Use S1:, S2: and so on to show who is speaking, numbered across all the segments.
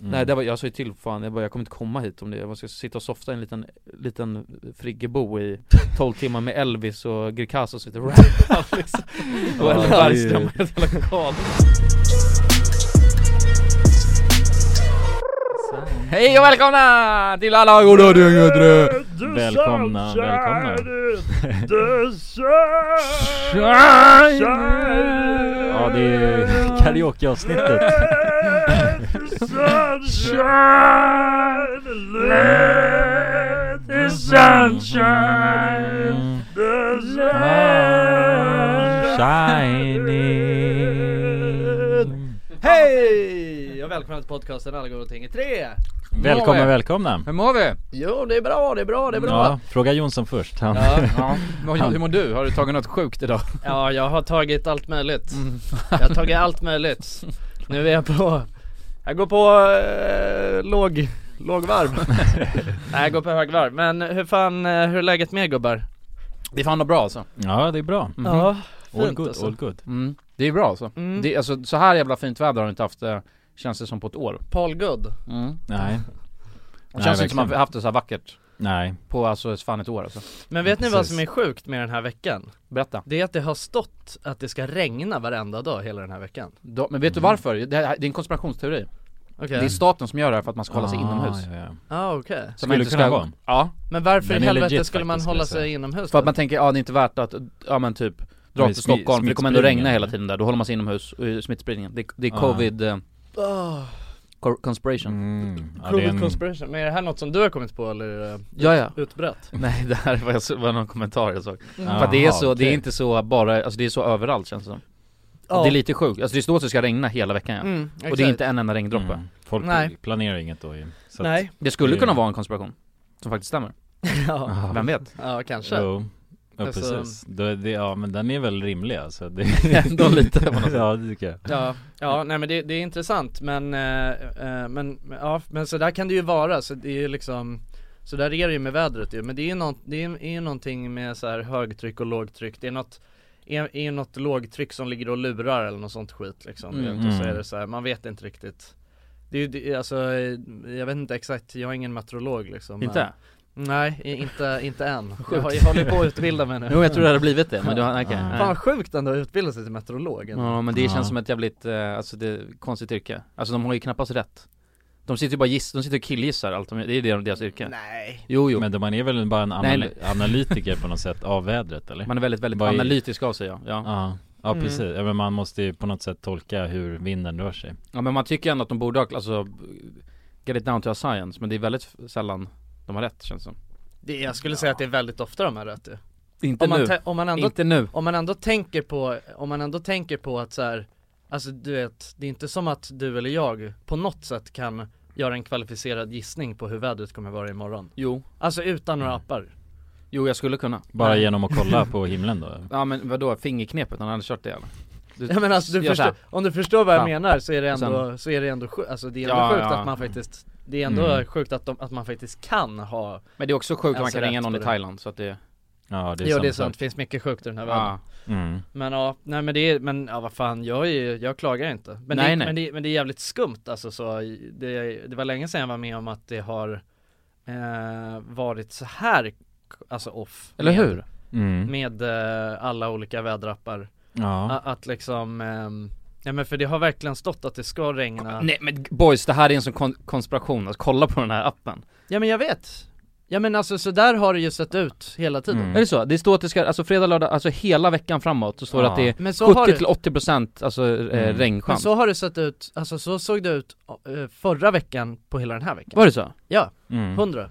S1: Mm.
S2: Nej det var, jag sa ju till fan, jag, bara, jag kommer inte komma hit om det, jag ska sitta och softa i en liten, liten friggebo i 12 timmar med Elvis och Greekazo och sitter och rappar liksom. Och Ellen
S3: Ja, det är ju-
S2: Bergström, helt jävla galen Hej och välkomna till alla goda dygnetrö!
S3: Välkomna, välkomna Ja det är karaokeavsnittet sunshine
S2: Ah,
S3: shining
S4: Hej och välkomna till podcasten Alla goda ting i tre!
S3: Välkomna, välkomna!
S1: Hur mår vi?
S4: Jo det är bra, det är bra, det är bra!
S3: Ja, fråga Jonsson först. Han,
S1: Ja, vad- hur mår du? Har du tagit något sjukt idag?
S4: Ja, jag har tagit allt möjligt.
S3: Mm.
S4: Jag har tagit allt möjligt. Nu är jag på... Jag går på eh, låg, lågvarv. Nej, jag går på högvarv. Men hur fan, eh, hur är läget med er, gubbar?
S3: Mm-hmm.
S1: Det är fan bra alltså.
S3: ja, det är bra.
S4: Ja,
S3: All
S4: fint
S3: good,
S4: alltså.
S3: all good.
S1: Mm. Det är bra alltså.
S4: Mm.
S1: Det, alltså. Så här jävla fint väder har vi inte haft, eh, känns det som på ett år.
S4: Paul Good.
S1: Mm.
S3: Nej,
S1: Det känns inte som att vi
S3: verkligen.
S1: har haft det så här vackert
S3: nej.
S1: på alltså fan ett år alltså.
S4: Men vet ni vad
S3: Precis.
S4: som är sjukt med den här veckan?
S1: Berätta.
S4: Det är att det har stått att det ska regna varenda dag hela den här veckan.
S1: Då, men vet du
S3: Mm.
S1: varför? Det, här, det är en konspirationsteori.
S4: Okej.
S1: Det är staten som gör det här för att man ska hålla sig
S3: Ah,
S1: inomhus.
S3: Ja, ja.
S4: ah, okej.
S1: Så
S3: Skulle
S1: man inte
S3: kunna
S1: ska,
S3: vara.
S1: Ja,
S4: Men varför
S3: Den
S4: i
S3: är
S4: helvete
S3: legit
S4: skulle man
S3: faktiskt,
S4: hålla
S3: skulle jag
S4: sig inomhus?
S1: för att
S4: då?
S1: man tänker, ja det är inte värt att, ja men typ Dra
S3: Men
S1: till
S3: smi-
S1: Stockholm, för det kommer ändå
S3: smittspridningen,
S1: regna hela
S3: eller?
S1: tiden där, då håller man sig inomhus, och smittspridningen Det, det är
S3: Ah.
S1: covid eh,
S4: Ah,
S1: cor- conspiration
S3: Mm, ja, det
S4: covid
S3: är en,
S4: conspiration. Men är det här något som du har kommit på eller eh,
S1: Ja ja,
S4: utbrett?
S1: nej det här var, jag så- var någon kommentar jag såg
S3: Ja.
S4: Mm.
S1: För att det är
S3: Jaha,
S1: så, det är
S3: okej.
S1: inte så bara, alltså det är så överallt känns det som
S4: Ja.
S1: Det är lite sjukt, alltså det står att det ska regna hela veckan ja.
S4: Mm,
S1: Och det är inte en enda regndroppe
S3: mm, folk
S4: Nej.
S3: planerar inget då ju. Så att-
S4: Nej
S1: Det skulle
S3: Det-
S1: kunna vara en konspiration Som faktiskt stämmer,
S4: ja.
S3: Ja.
S1: vem vet?
S4: ja, kanske
S3: Jo, ja,
S4: Alltså-
S3: precis. Det, det, ja men den är väl rimlig alltså. Det,
S1: Ändå lite på något sätt.
S3: ja det tycker jag.
S4: Ja, ja nej men det, det är intressant men, eh, eh, men, men, ja, men så där kan det ju vara så det är ju liksom Så där är det ju med vädret ju, men det är ju, nånt, det är, är ju någonting med så här högtryck och lågtryck Det är något är, är ju något lågtryck som ligger och lurar eller något sånt skit liksom du vet, och så
S3: Mm.
S4: är det så här, man vet inte riktigt det är, ju- det, är- alltså, eh, jag vet inte exakt, jag är ingen meteorolog liksom men-
S1: Inte?
S4: Nej, i- inte, inte än. Jag, har- jag håller på att utbilda mig nu
S1: Jo jag tror det hade blivit det, men du har, okej
S3: Ja.
S1: nej.
S4: Fan vad sjukt ändå att utbilda sig till meteorolog ändå.
S1: Ja men det
S3: Ja.
S1: känns som ett jävligt, eh, alltså det, konstigt yrke Alltså de har ju knappast rätt De sitter ju bara giss, de sitter och killgissar allt, de- det är det- deras yrke
S4: Nej
S1: Jo jo,
S3: Men då man är väl bara en
S1: Nej,
S3: anal- analytiker på något sätt av vädret eller?
S1: man är väldigt, väldigt
S3: Vad är-
S1: analytisk av sig ja. ja
S3: Ja, ja
S4: Mm.
S3: precis. Ja, men man måste ju på något sätt tolka hur vinden rör sig.
S1: Ja men man tycker ändå att de borde ha, alltså Get it down to a science, men det är väldigt f- sällan de har rätt känns det som
S4: det, Jag skulle säga att det är väldigt ofta de har rätt ju.
S1: Inte
S4: om man,
S1: nu,
S4: tä- om, man ändå,
S1: inte nu
S4: om man ändå tänker på, om man ändå tänker på att så här, Alltså du vet, det är inte som att du eller jag på något sätt kan göra en kvalificerad gissning på hur vädret kommer vara imorgon
S1: Jo,
S4: Alltså utan
S1: Mm.
S4: några appar
S1: jo jag skulle kunna
S3: Bara
S1: Nej.
S3: genom att kolla på himlen då.
S1: Ja men vadå, fingerknepet, han hade kört det eller? Du,
S4: Ja men alltså du
S1: gör så här.
S4: förstår, om du förstår vad jag
S1: Fan.
S4: menar så är det
S1: Och
S4: ändå, så är det ändå sjukt, alltså det är ändå
S1: Ja,
S4: sjukt
S1: ja.
S4: att man faktiskt Det är ändå
S3: Mm.
S4: sjukt att, de, att man faktiskt kan ha
S1: Men det är också sjukt att man
S4: Alltså,
S1: kan ringa
S4: rätt
S1: någon
S4: på
S1: i
S4: det.
S1: Thailand så att det,
S3: Ja det är,
S4: Jo
S3: samma
S4: det är
S3: sak.
S4: sant, det finns mycket sjukt i den här världen
S1: ja
S3: Mm.
S4: Men ja, nej men det är, men ja vad fan jag är ju, jag klagar inte men,
S1: Nej,
S4: det,
S1: nej.
S4: men, det, men det är jävligt skumt alltså så det, det var länge sedan jag var med om att det har eh, varit så här alltså off
S1: Eller
S4: med,
S1: hur?
S3: Mm.
S4: Med eh, alla olika väderappar
S3: Ja.
S4: A- Att liksom, ehm, ja men för det har verkligen stått att det ska regna
S1: Nej men boys, det här är en sån kon- konspiration, alltså kolla på den här appen
S4: Ja men jag vet Ja men alltså så där har det ju sett ut hela tiden
S3: Mm.
S1: Är det så? Det står att det ska, alltså fredag, lördag, alltså hela veckan framåt så står det
S3: Ja.
S1: att det är
S4: Men så har det
S1: 70-80% alltså eh,
S3: Mm.
S4: men
S1: regnchans
S4: så har det sett ut, alltså så såg det ut eh, förra veckan på hela den här veckan
S1: Var det så?
S4: Ja,
S3: Mm.
S4: hundra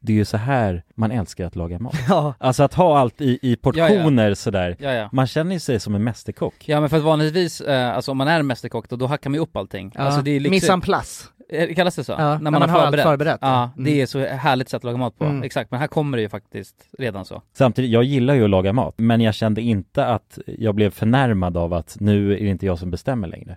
S3: det är ju så här man älskar att laga mat.
S4: Ja,
S3: Alltså att ha allt i, i portioner sådär.
S5: Ja ja
S3: Man känner ju sig som en mästerkock.
S1: Ja men för att vanligtvis, eh, alltså om man är mästerkock då, då hackar man ju upp allting.
S4: ja.
S1: Alltså det är liksom,
S4: Mise en place.
S1: Eh, kallas det så?
S4: Ja, när man har allt förberett.
S1: Ja,
S4: Mm.
S1: det är så härligt sätt att laga mat på.
S4: Mm.
S1: Exakt, men här kommer det ju faktiskt redan så.
S3: Samtidigt, jag gillar ju att laga mat, men jag kände inte att jag blev förnärmad av att nu är det inte jag som bestämmer längre.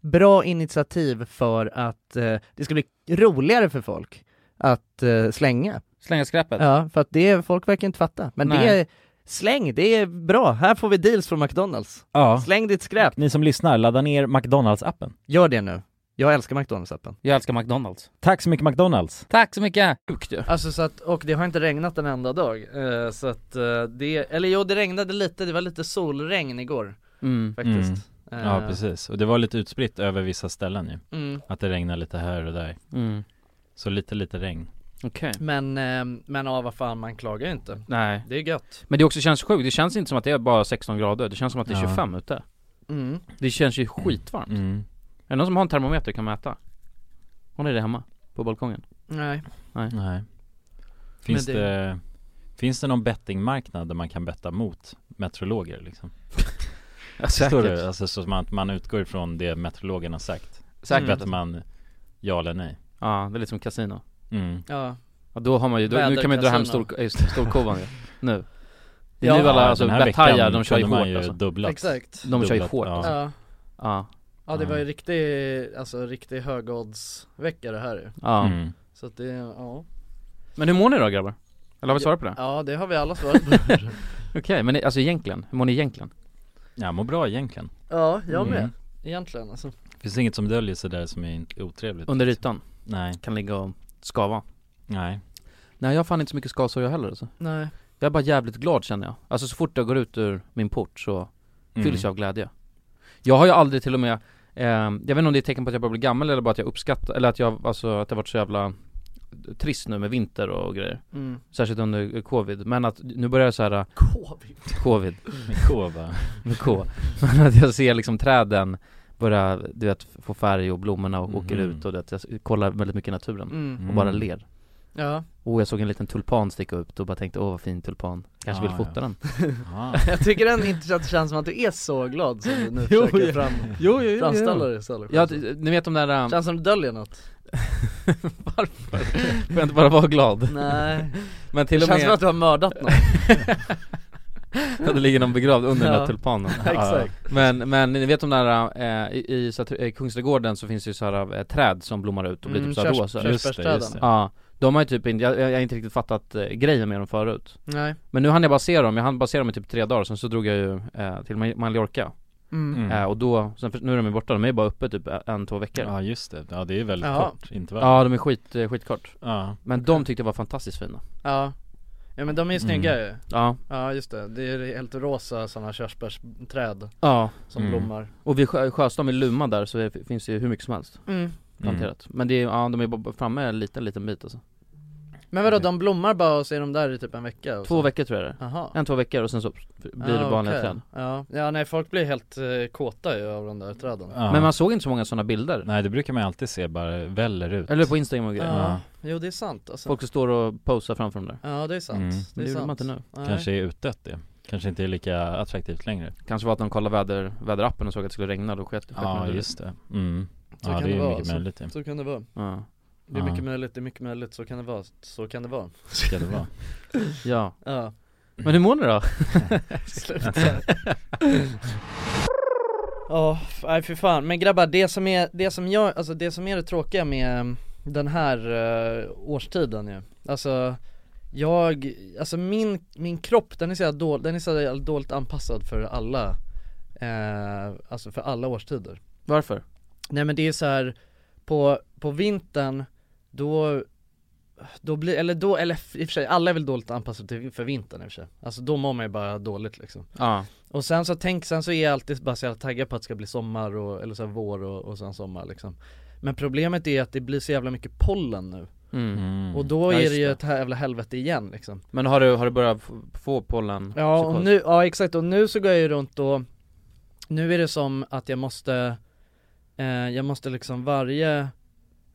S4: bra initiativ för att eh, det ska bli roligare för folk att eh, slänga.
S1: Slänga skräpet.
S4: Ja, för att det, folk verkar inte fatta. Men det
S1: Nej.
S4: är, släng, det är bra. Här får vi deals från McDonalds.
S2: Ja.
S4: Släng ditt skräp.
S2: Ni som lyssnar, ladda ner McDonalds-appen.
S4: Gör det nu. Jag älskar McDonalds-appen.
S1: Jag älskar McDonalds.
S2: Tack så mycket McDonalds.
S1: Tack så mycket! Sjukt ju.
S4: Alltså så att, och det har inte regnat en enda dag. eh, så att eh, det, eller jo det regnade lite, det var lite solregn igår
S1: Mm.
S4: faktiskt. Eh,
S3: Ja precis, och det var lite utspritt över vissa ställen ju
S4: Mm.
S3: Att det regnar lite här och där
S1: Mm.
S3: Så lite lite regn
S1: Okej.
S4: Men, eh, men ja vad fan man klagar ju inte.
S1: Nej.
S4: Det är gött.
S1: Men det också känns sjukt, det känns inte som att det är bara 16 grader, det känns som att det är
S3: Ja.
S1: 25 ute.
S4: Mm.
S1: Det känns ju skitvarmt.
S3: mm.
S1: Är det någon som har en termometer kan mäta? Hon är det hemma, på balkongen.
S4: Nej.
S3: Nej Finns
S4: det-
S3: det... Finns det någon bettingmarknad där man kan betta mot meteorologer liksom?
S1: Ja,
S3: Förstår du? Alltså så att man, man utgår ifrån det meteorologerna sagt
S1: Säkert.
S3: Bettar man ja eller nej?
S1: Mm. Ja, det är lite som kasino.
S3: Mm.
S4: Ja.
S1: Ja, då har man ju, då, nu kan man ju dra hem
S4: Väderkasino.
S1: stor, äh, storkovan ju. Nu. Det är
S4: Ja.
S1: nu alla,
S3: Ja,
S1: alltså
S3: den här
S1: betthajar,
S3: veckan
S1: de kör ju
S3: kunde man
S1: hårt alltså.
S3: dubblat
S4: Exakt.
S1: De kör ju
S3: dubblat,
S1: hårt
S3: ja.
S1: alltså.
S4: Ja.
S1: Ja,
S4: ja det var ju
S3: Ja.
S4: riktig, alltså riktig högoddsvecka det här ju.
S1: ja.
S3: Mm.
S4: Så att det, ja.
S1: Men hur mår ni då grabbar? Eller har vi svarat på det?
S4: Ja det har vi alla svarat på.
S1: Okej, men ni- alltså egentligen, hur mår ni egentligen?
S3: Jag mår bra egentligen
S4: ja, jag med.
S3: Mm.
S4: Egentligen alltså.
S3: Finns inget som döljer sig där som är otrevligt
S1: Under ytan,
S3: Nej,
S1: kan ligga och skava
S3: nej
S1: Nej jag har fan inte så mycket skavsår jag heller alltså.
S4: Nej.
S1: Jag är bara jävligt glad känner jag Alltså så fort jag går ut ur min port så
S3: Mm.
S1: fylls jag av glädje Jag har ju aldrig till och med, eh, jag vet inte om det är ett tecken på att jag börjar bli gammal eller bara att jag uppskattar, eller att jag, alltså att det har varit så jävla trist nu med vinter och grejer
S4: Mm.
S1: Särskilt under covid, men att nu börjar jag så här äh,
S4: Covid.
S1: covid
S3: Med K va?
S1: med K Men att jag ser liksom träden börja, du vet, få färg och blommorna och åker
S3: Mhm.
S1: ut och du vet, jag kollar väldigt mycket i naturen
S4: Mm.
S1: och bara ler
S4: Ja,
S1: Åh, jag såg en liten tulpan sticka upp och bara tänkte åh vad fin tulpan Kanske
S3: Ah,
S1: vill fota
S3: ja.
S1: den
S3: Ah.
S4: jag tycker ändå inte att det känns som att du är så glad som du nu
S1: Jo,
S4: försöker
S1: ja.
S4: fram,
S1: Jo, jo,
S4: framställa dig istället.
S1: Ja, d- ni vet de där, ähm,
S4: känns som du döljer något.
S1: varför? Får jag inte bara vara glad?
S4: Nej,
S1: Men
S4: det
S1: till och med
S4: känns som att du har mördat någon.
S1: att det ligger någon begravd under den
S4: Ja.
S1: där tulpanen
S4: Exakt.
S1: Men, men ni vet de där, äh, i, i, så att, eh, Kungsträdgården så finns det ju så här äh, träd som blommar ut och blir
S4: Mm,
S1: typ såhär rosa
S3: körs- Just det, just det.
S1: Ja, de har ju typ inte, jag, jag har inte riktigt fattat eh, grejen med dem förut
S4: Nej.
S1: Men nu hann jag bara se dem, jag hann bara se dem i typ tre dagar, sen så drog jag ju eh, till Ma- Mallorca
S4: Mm.
S3: Mm.
S1: eh, Och då, sen för, nu är de ju borta, de är ju bara uppe typ en, två veckor Ja,
S3: Ja just det, ja det är väldigt
S4: Ja.
S3: kort intervall
S1: ja de är skit, eh, skitkort
S3: Ja,
S1: Men de tyckte jag var fantastiskt fina
S4: Ja. Ja men de är ju snygga ju.
S1: Ja,
S4: Ja just det, det är helt rosa sådana körsbärsträd
S1: ja
S4: som
S3: Mm.
S4: blommar.
S1: Och vid Sjö, Sjöstam i Luma där så är, finns det ju hur mycket som helst
S3: Mm.
S1: planterat Men det är, ja de är bara framme en liten, liten bit alltså
S4: Men vadå,
S3: Okej.
S4: de blommar bara och så är de där i typ en vecka? Och
S1: Två
S4: så.
S1: veckor tror jag det är.
S4: Jaha
S1: En, två veckor och sen så blir det
S4: Ah,
S1: vanliga
S4: okej.
S1: träd
S4: Ja. ja, nej folk blir helt eh, kåta ju av de där träden
S3: ja.
S1: Men man såg inte så många sådana bilder
S3: Nej det brukar man ju alltid se bara väller ut
S1: Eller på Instagram och
S4: Ja,
S1: grejer
S3: Ja.
S4: jo det är sant alltså
S1: Folk som står och posar framför dem där
S4: Ja det är sant,
S3: Mm.
S1: Det,
S4: det är
S1: gjorde
S4: sant
S1: man inte nu
S4: Nej.
S3: Kanske är utdött det Kanske inte är lika attraktivt längre
S1: Kanske var att de kollade väder, väderappen och såg att det skulle regna, då sket sket man
S3: Ja
S1: i det.
S3: just det, mm.
S4: Så
S3: Ja
S4: kan
S3: det är
S4: det
S3: ju
S4: vara,
S3: mycket
S4: alltså.
S3: möjligt det,
S4: Så kan det vara
S1: Ja,
S4: Det är
S3: Ja.
S4: mycket möjligt, det är mycket möjligt, så kan det vara, så kan det vara
S3: ska det vara
S1: ja.
S4: Ja,
S1: Men hur mår ni då?
S4: sluta Ja, f- nej för fan, men grabbar det som är, det som jag, alltså det som är det tråkiga med mm, den här eh, årstiden ju Alltså jag, alltså min, min kropp den är så jävla dålig, den är så jävla dåligt anpassad för alla, eh, alltså för alla årstider
S1: Varför?
S4: Nej men det är så här på, på vintern, då, då blir, eller då, eller f- i och för sig, alla är väl dåligt anpassade till, för vintern i och för sig Alltså då mår man ju bara dåligt liksom
S1: Ja,
S4: Och sen så tänk, sen så är jag alltid bara så jävla taggad på att det ska bli sommar och, eller så här vår och, och sen sommar liksom Men problemet är att det blir så jävla mycket pollen nu
S1: mm.
S3: mm.
S4: och då
S1: Ja,
S4: är
S1: just
S4: det ju
S1: det.
S4: ett här jävla helvete igen liksom
S1: Men har du, har du börjat f- få pollen?
S4: Ja, och nu, ja exakt, och nu så går jag ju runt och Nu är det som att jag måste eh, Jag måste liksom varje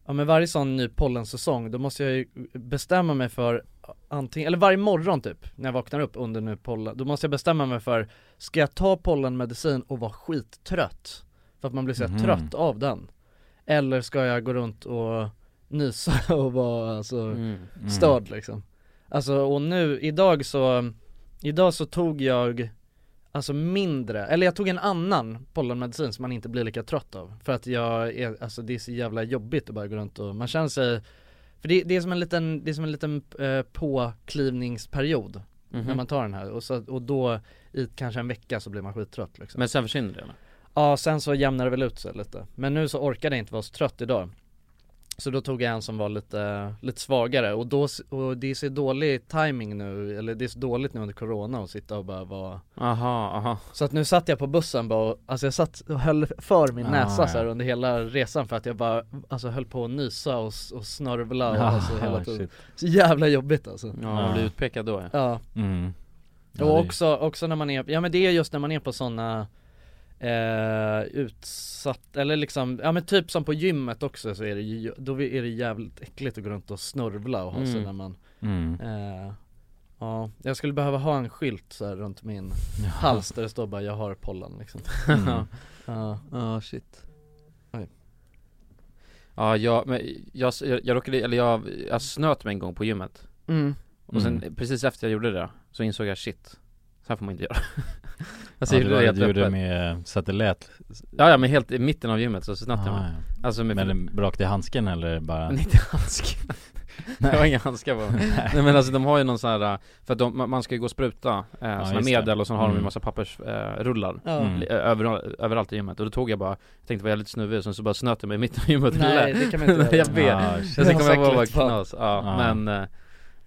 S4: Ja men varje sån ny pollensäsong, då måste jag ju bestämma mig för antingen, eller varje morgon typ när jag vaknar upp under nu pollen, då måste jag bestämma mig för Ska jag ta pollenmedicin och vara skittrött? För att man blir så här
S3: Mhm.
S4: trött av den Eller ska jag gå runt och nysa och vara alltså
S1: Mm.
S3: Mm.
S4: störd liksom Alltså och nu, idag så, idag så tog jag Alltså mindre, eller jag tog en annan pollenmedicin som man inte blir lika trött av För att jag är, alltså det är så jävla jobbigt att bara gå runt och, man känner sig För det, det är som en liten, det är som en liten eh, påklivningsperiod
S1: Mhm.
S4: När man tar den här och, så, och då i kanske en vecka så blir man skittrött liksom
S1: Men sen försvinner det eller?
S4: Ja, sen så jämnar det väl ut sig lite. Men nu så orkade jag inte vara så trött idag. Så då tog jag en som var lite, lite svagare och då, och det är så dålig timing nu, eller det är så dåligt nu under corona att sitta och bara vara
S1: Aha, aha
S4: Så att nu satt jag på bussen bara och, alltså jag satt och höll för min
S1: Ah,
S4: näsa så här
S1: ja.
S4: under hela resan för att jag bara, alltså höll på att nysa och, s- och snörvla och
S1: Ah,
S4: alltså hela tiden
S1: shit.
S4: Så jävla jobbigt alltså
S1: Ja, man blir utpekad då ja.
S4: Ja
S1: Mm. Ja, det
S4: och
S1: är-
S4: också, också när man är, ja men det är just när man är på sådana eh, utsatt, eller liksom, ja men typ som på gymmet också så är det ju, då är det jävligt äckligt att gå runt och snörvla och ha sig
S1: Mm.
S4: när man
S1: Mm.
S4: eh, Ja, jag skulle behöva ha en skylt så här runt min hals där det står bara jag har pollen liksom
S1: Mm.
S4: Ja, ja shit
S1: Ja, jag, men jag, jag, jag råkade, eller jag, jag snöt mig en gång på gymmet
S4: Mm.
S1: Och sen
S3: Mm.
S1: precis efter jag gjorde det så insåg jag shit, så här får man inte göra Alltså
S3: Ja,
S1: jag
S3: det
S1: gjorde det
S3: var det du
S1: helt
S3: gjorde
S1: öppet
S3: med, eh, så att det lät
S1: Ja, ja men helt i mitten av gymmet så snöt jag
S3: Ah,
S1: mig Alltså med
S3: Men rakt i handsken eller bara?
S1: Nej, inte handsken. Nej. Jag har inga handskar på mig.
S3: Nej.
S1: Nej men alltså de har ju någon sån här, äh, för att de, man- man ska ju gå och spruta eh, såna
S3: just det.
S1: medel och sen har de
S3: Mm.
S1: ju massa pappersrullar eh, rullar,
S4: Ja. Mm.
S1: li- eh, överall- överallt i gymmet och då tog jag bara, jag tänkte var jag lite snuvig, sen så bara snöt jag mig i mitten av gymmet och
S4: Nej,
S1: lilla.
S4: det kan man inte
S1: Jag
S4: göra.
S1: vet,
S4: Ah,
S1: ah,
S4: shit.
S1: sen
S4: Det
S1: kommer
S4: var
S1: jag bara vara
S4: säkert fan.
S1: knas, ja,
S4: Ja.
S1: men eh,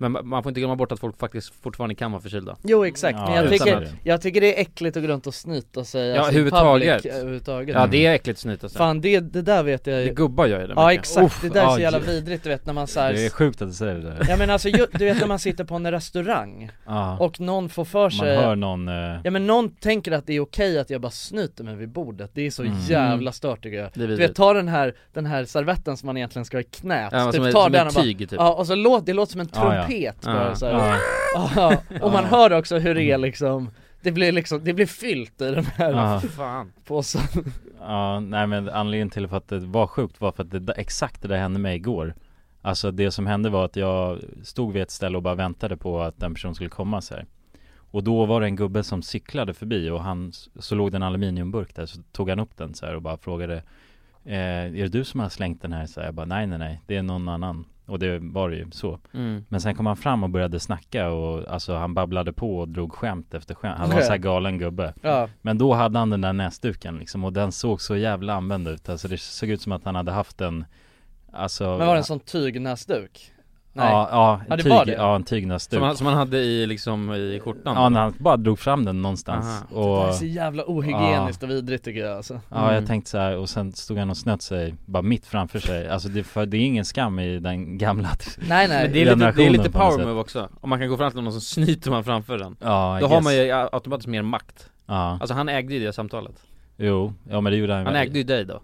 S1: men ma- man får inte glömma bort att folk faktiskt fortfarande kan vara förkylda
S4: Jo exakt, men jag
S1: Utan
S4: tycker,
S1: att-
S4: jag tycker det är äckligt att gå runt och snyta sig
S1: Ja,
S4: alltså, i
S1: överhuvudtaget.
S4: public, eh, överhuvudtaget
S3: Mm.
S1: Ja, det är äckligt att snyta sig.
S4: Fan det, det där vet jag ju
S1: Det gubbar gör ju det
S4: Ja
S1: mycket.
S4: exakt,
S1: Uff,
S4: det där är så
S1: aj.
S4: jävla vidrigt du vet när man såhär
S3: Det är sjukt att du säger det där
S4: Ja men alltså ju, du vet när man sitter på en restaurang
S3: Ja.
S4: och någon får för sig
S3: Man hör någon, eh,
S4: Ja men någon tänker att det är okej att jag bara snyter mig vid bordet, det är så
S3: Mm.
S4: jävla stört tycker jag
S1: Det är
S4: Du vet
S1: vidrigt.
S4: ta den här, den här servetten som man egentligen ska ha i knät, Typ
S1: Ja, som är-
S4: ta
S1: som
S4: den
S1: är
S4: och bara-
S1: tyg, typ.
S4: Ja och så låt, det låter som en
S1: Ja, ja.
S4: trumpet
S1: Ja.
S4: bara så här.
S1: Ja.
S4: Ja, Och man
S1: Ja. Mm.
S4: hör också hur det är liksom, det blir liksom, det blir fyllt i den här
S3: Ja.
S1: Fan.
S4: påsen
S3: Ja, nej men anledningen till för att det var sjukt var för att det, exakt det där hände mig igår Alltså det som hände var att jag stod vid ett ställe och bara väntade på att en person skulle komma så här. Och då var det en gubbe som cyklade förbi och han, så låg det en aluminiumburk där så tog han upp den så här och bara frågade eh, Är det du som har slängt den här? Så här, jag bara nej nej nej, det är någon annan Och det var det ju så
S1: Mm.
S3: Men sen kom han fram och började snacka och alltså han babblade på och drog skämt efter skämt Han var
S1: Okej.
S3: så här galen gubbe
S1: Ja.
S3: men då hade han den där näsduken liksom och den såg så jävla använd ut Alltså det såg ut som att han hade haft en Alltså
S4: Men var det en sån tygnäsduk?
S3: Ja, ja,
S4: ja det
S3: tyg,
S4: var det
S3: ja en tygnäsduk
S1: Som han, som han hade i liksom i skjortan
S3: Typ. Ja, när han bara drog fram den någonstans
S1: Aha. typ
S3: och
S4: Det är så jävla ohygieniskt och vidrigt tycker jag alltså
S3: Ja,
S1: Mm.
S3: jag tänkte så här och sen stod han och snöt sig bara mitt framför sig Alltså det, för det är ingen skam i den gamla
S4: Nej, nej.
S1: Men det är lite, det är
S3: generationen
S1: lite
S3: på något
S1: power
S3: sätt.
S1: move också, om man kan gå fram till någon som snyter man framför den
S3: Ja, I
S1: Då har
S3: guess.
S1: man ju automatiskt mer makt
S3: Ja.
S1: Alltså han ägde ju det samtalet
S3: Jo, ja men det gjorde han
S1: Han
S3: väl.
S1: ägde ju dig då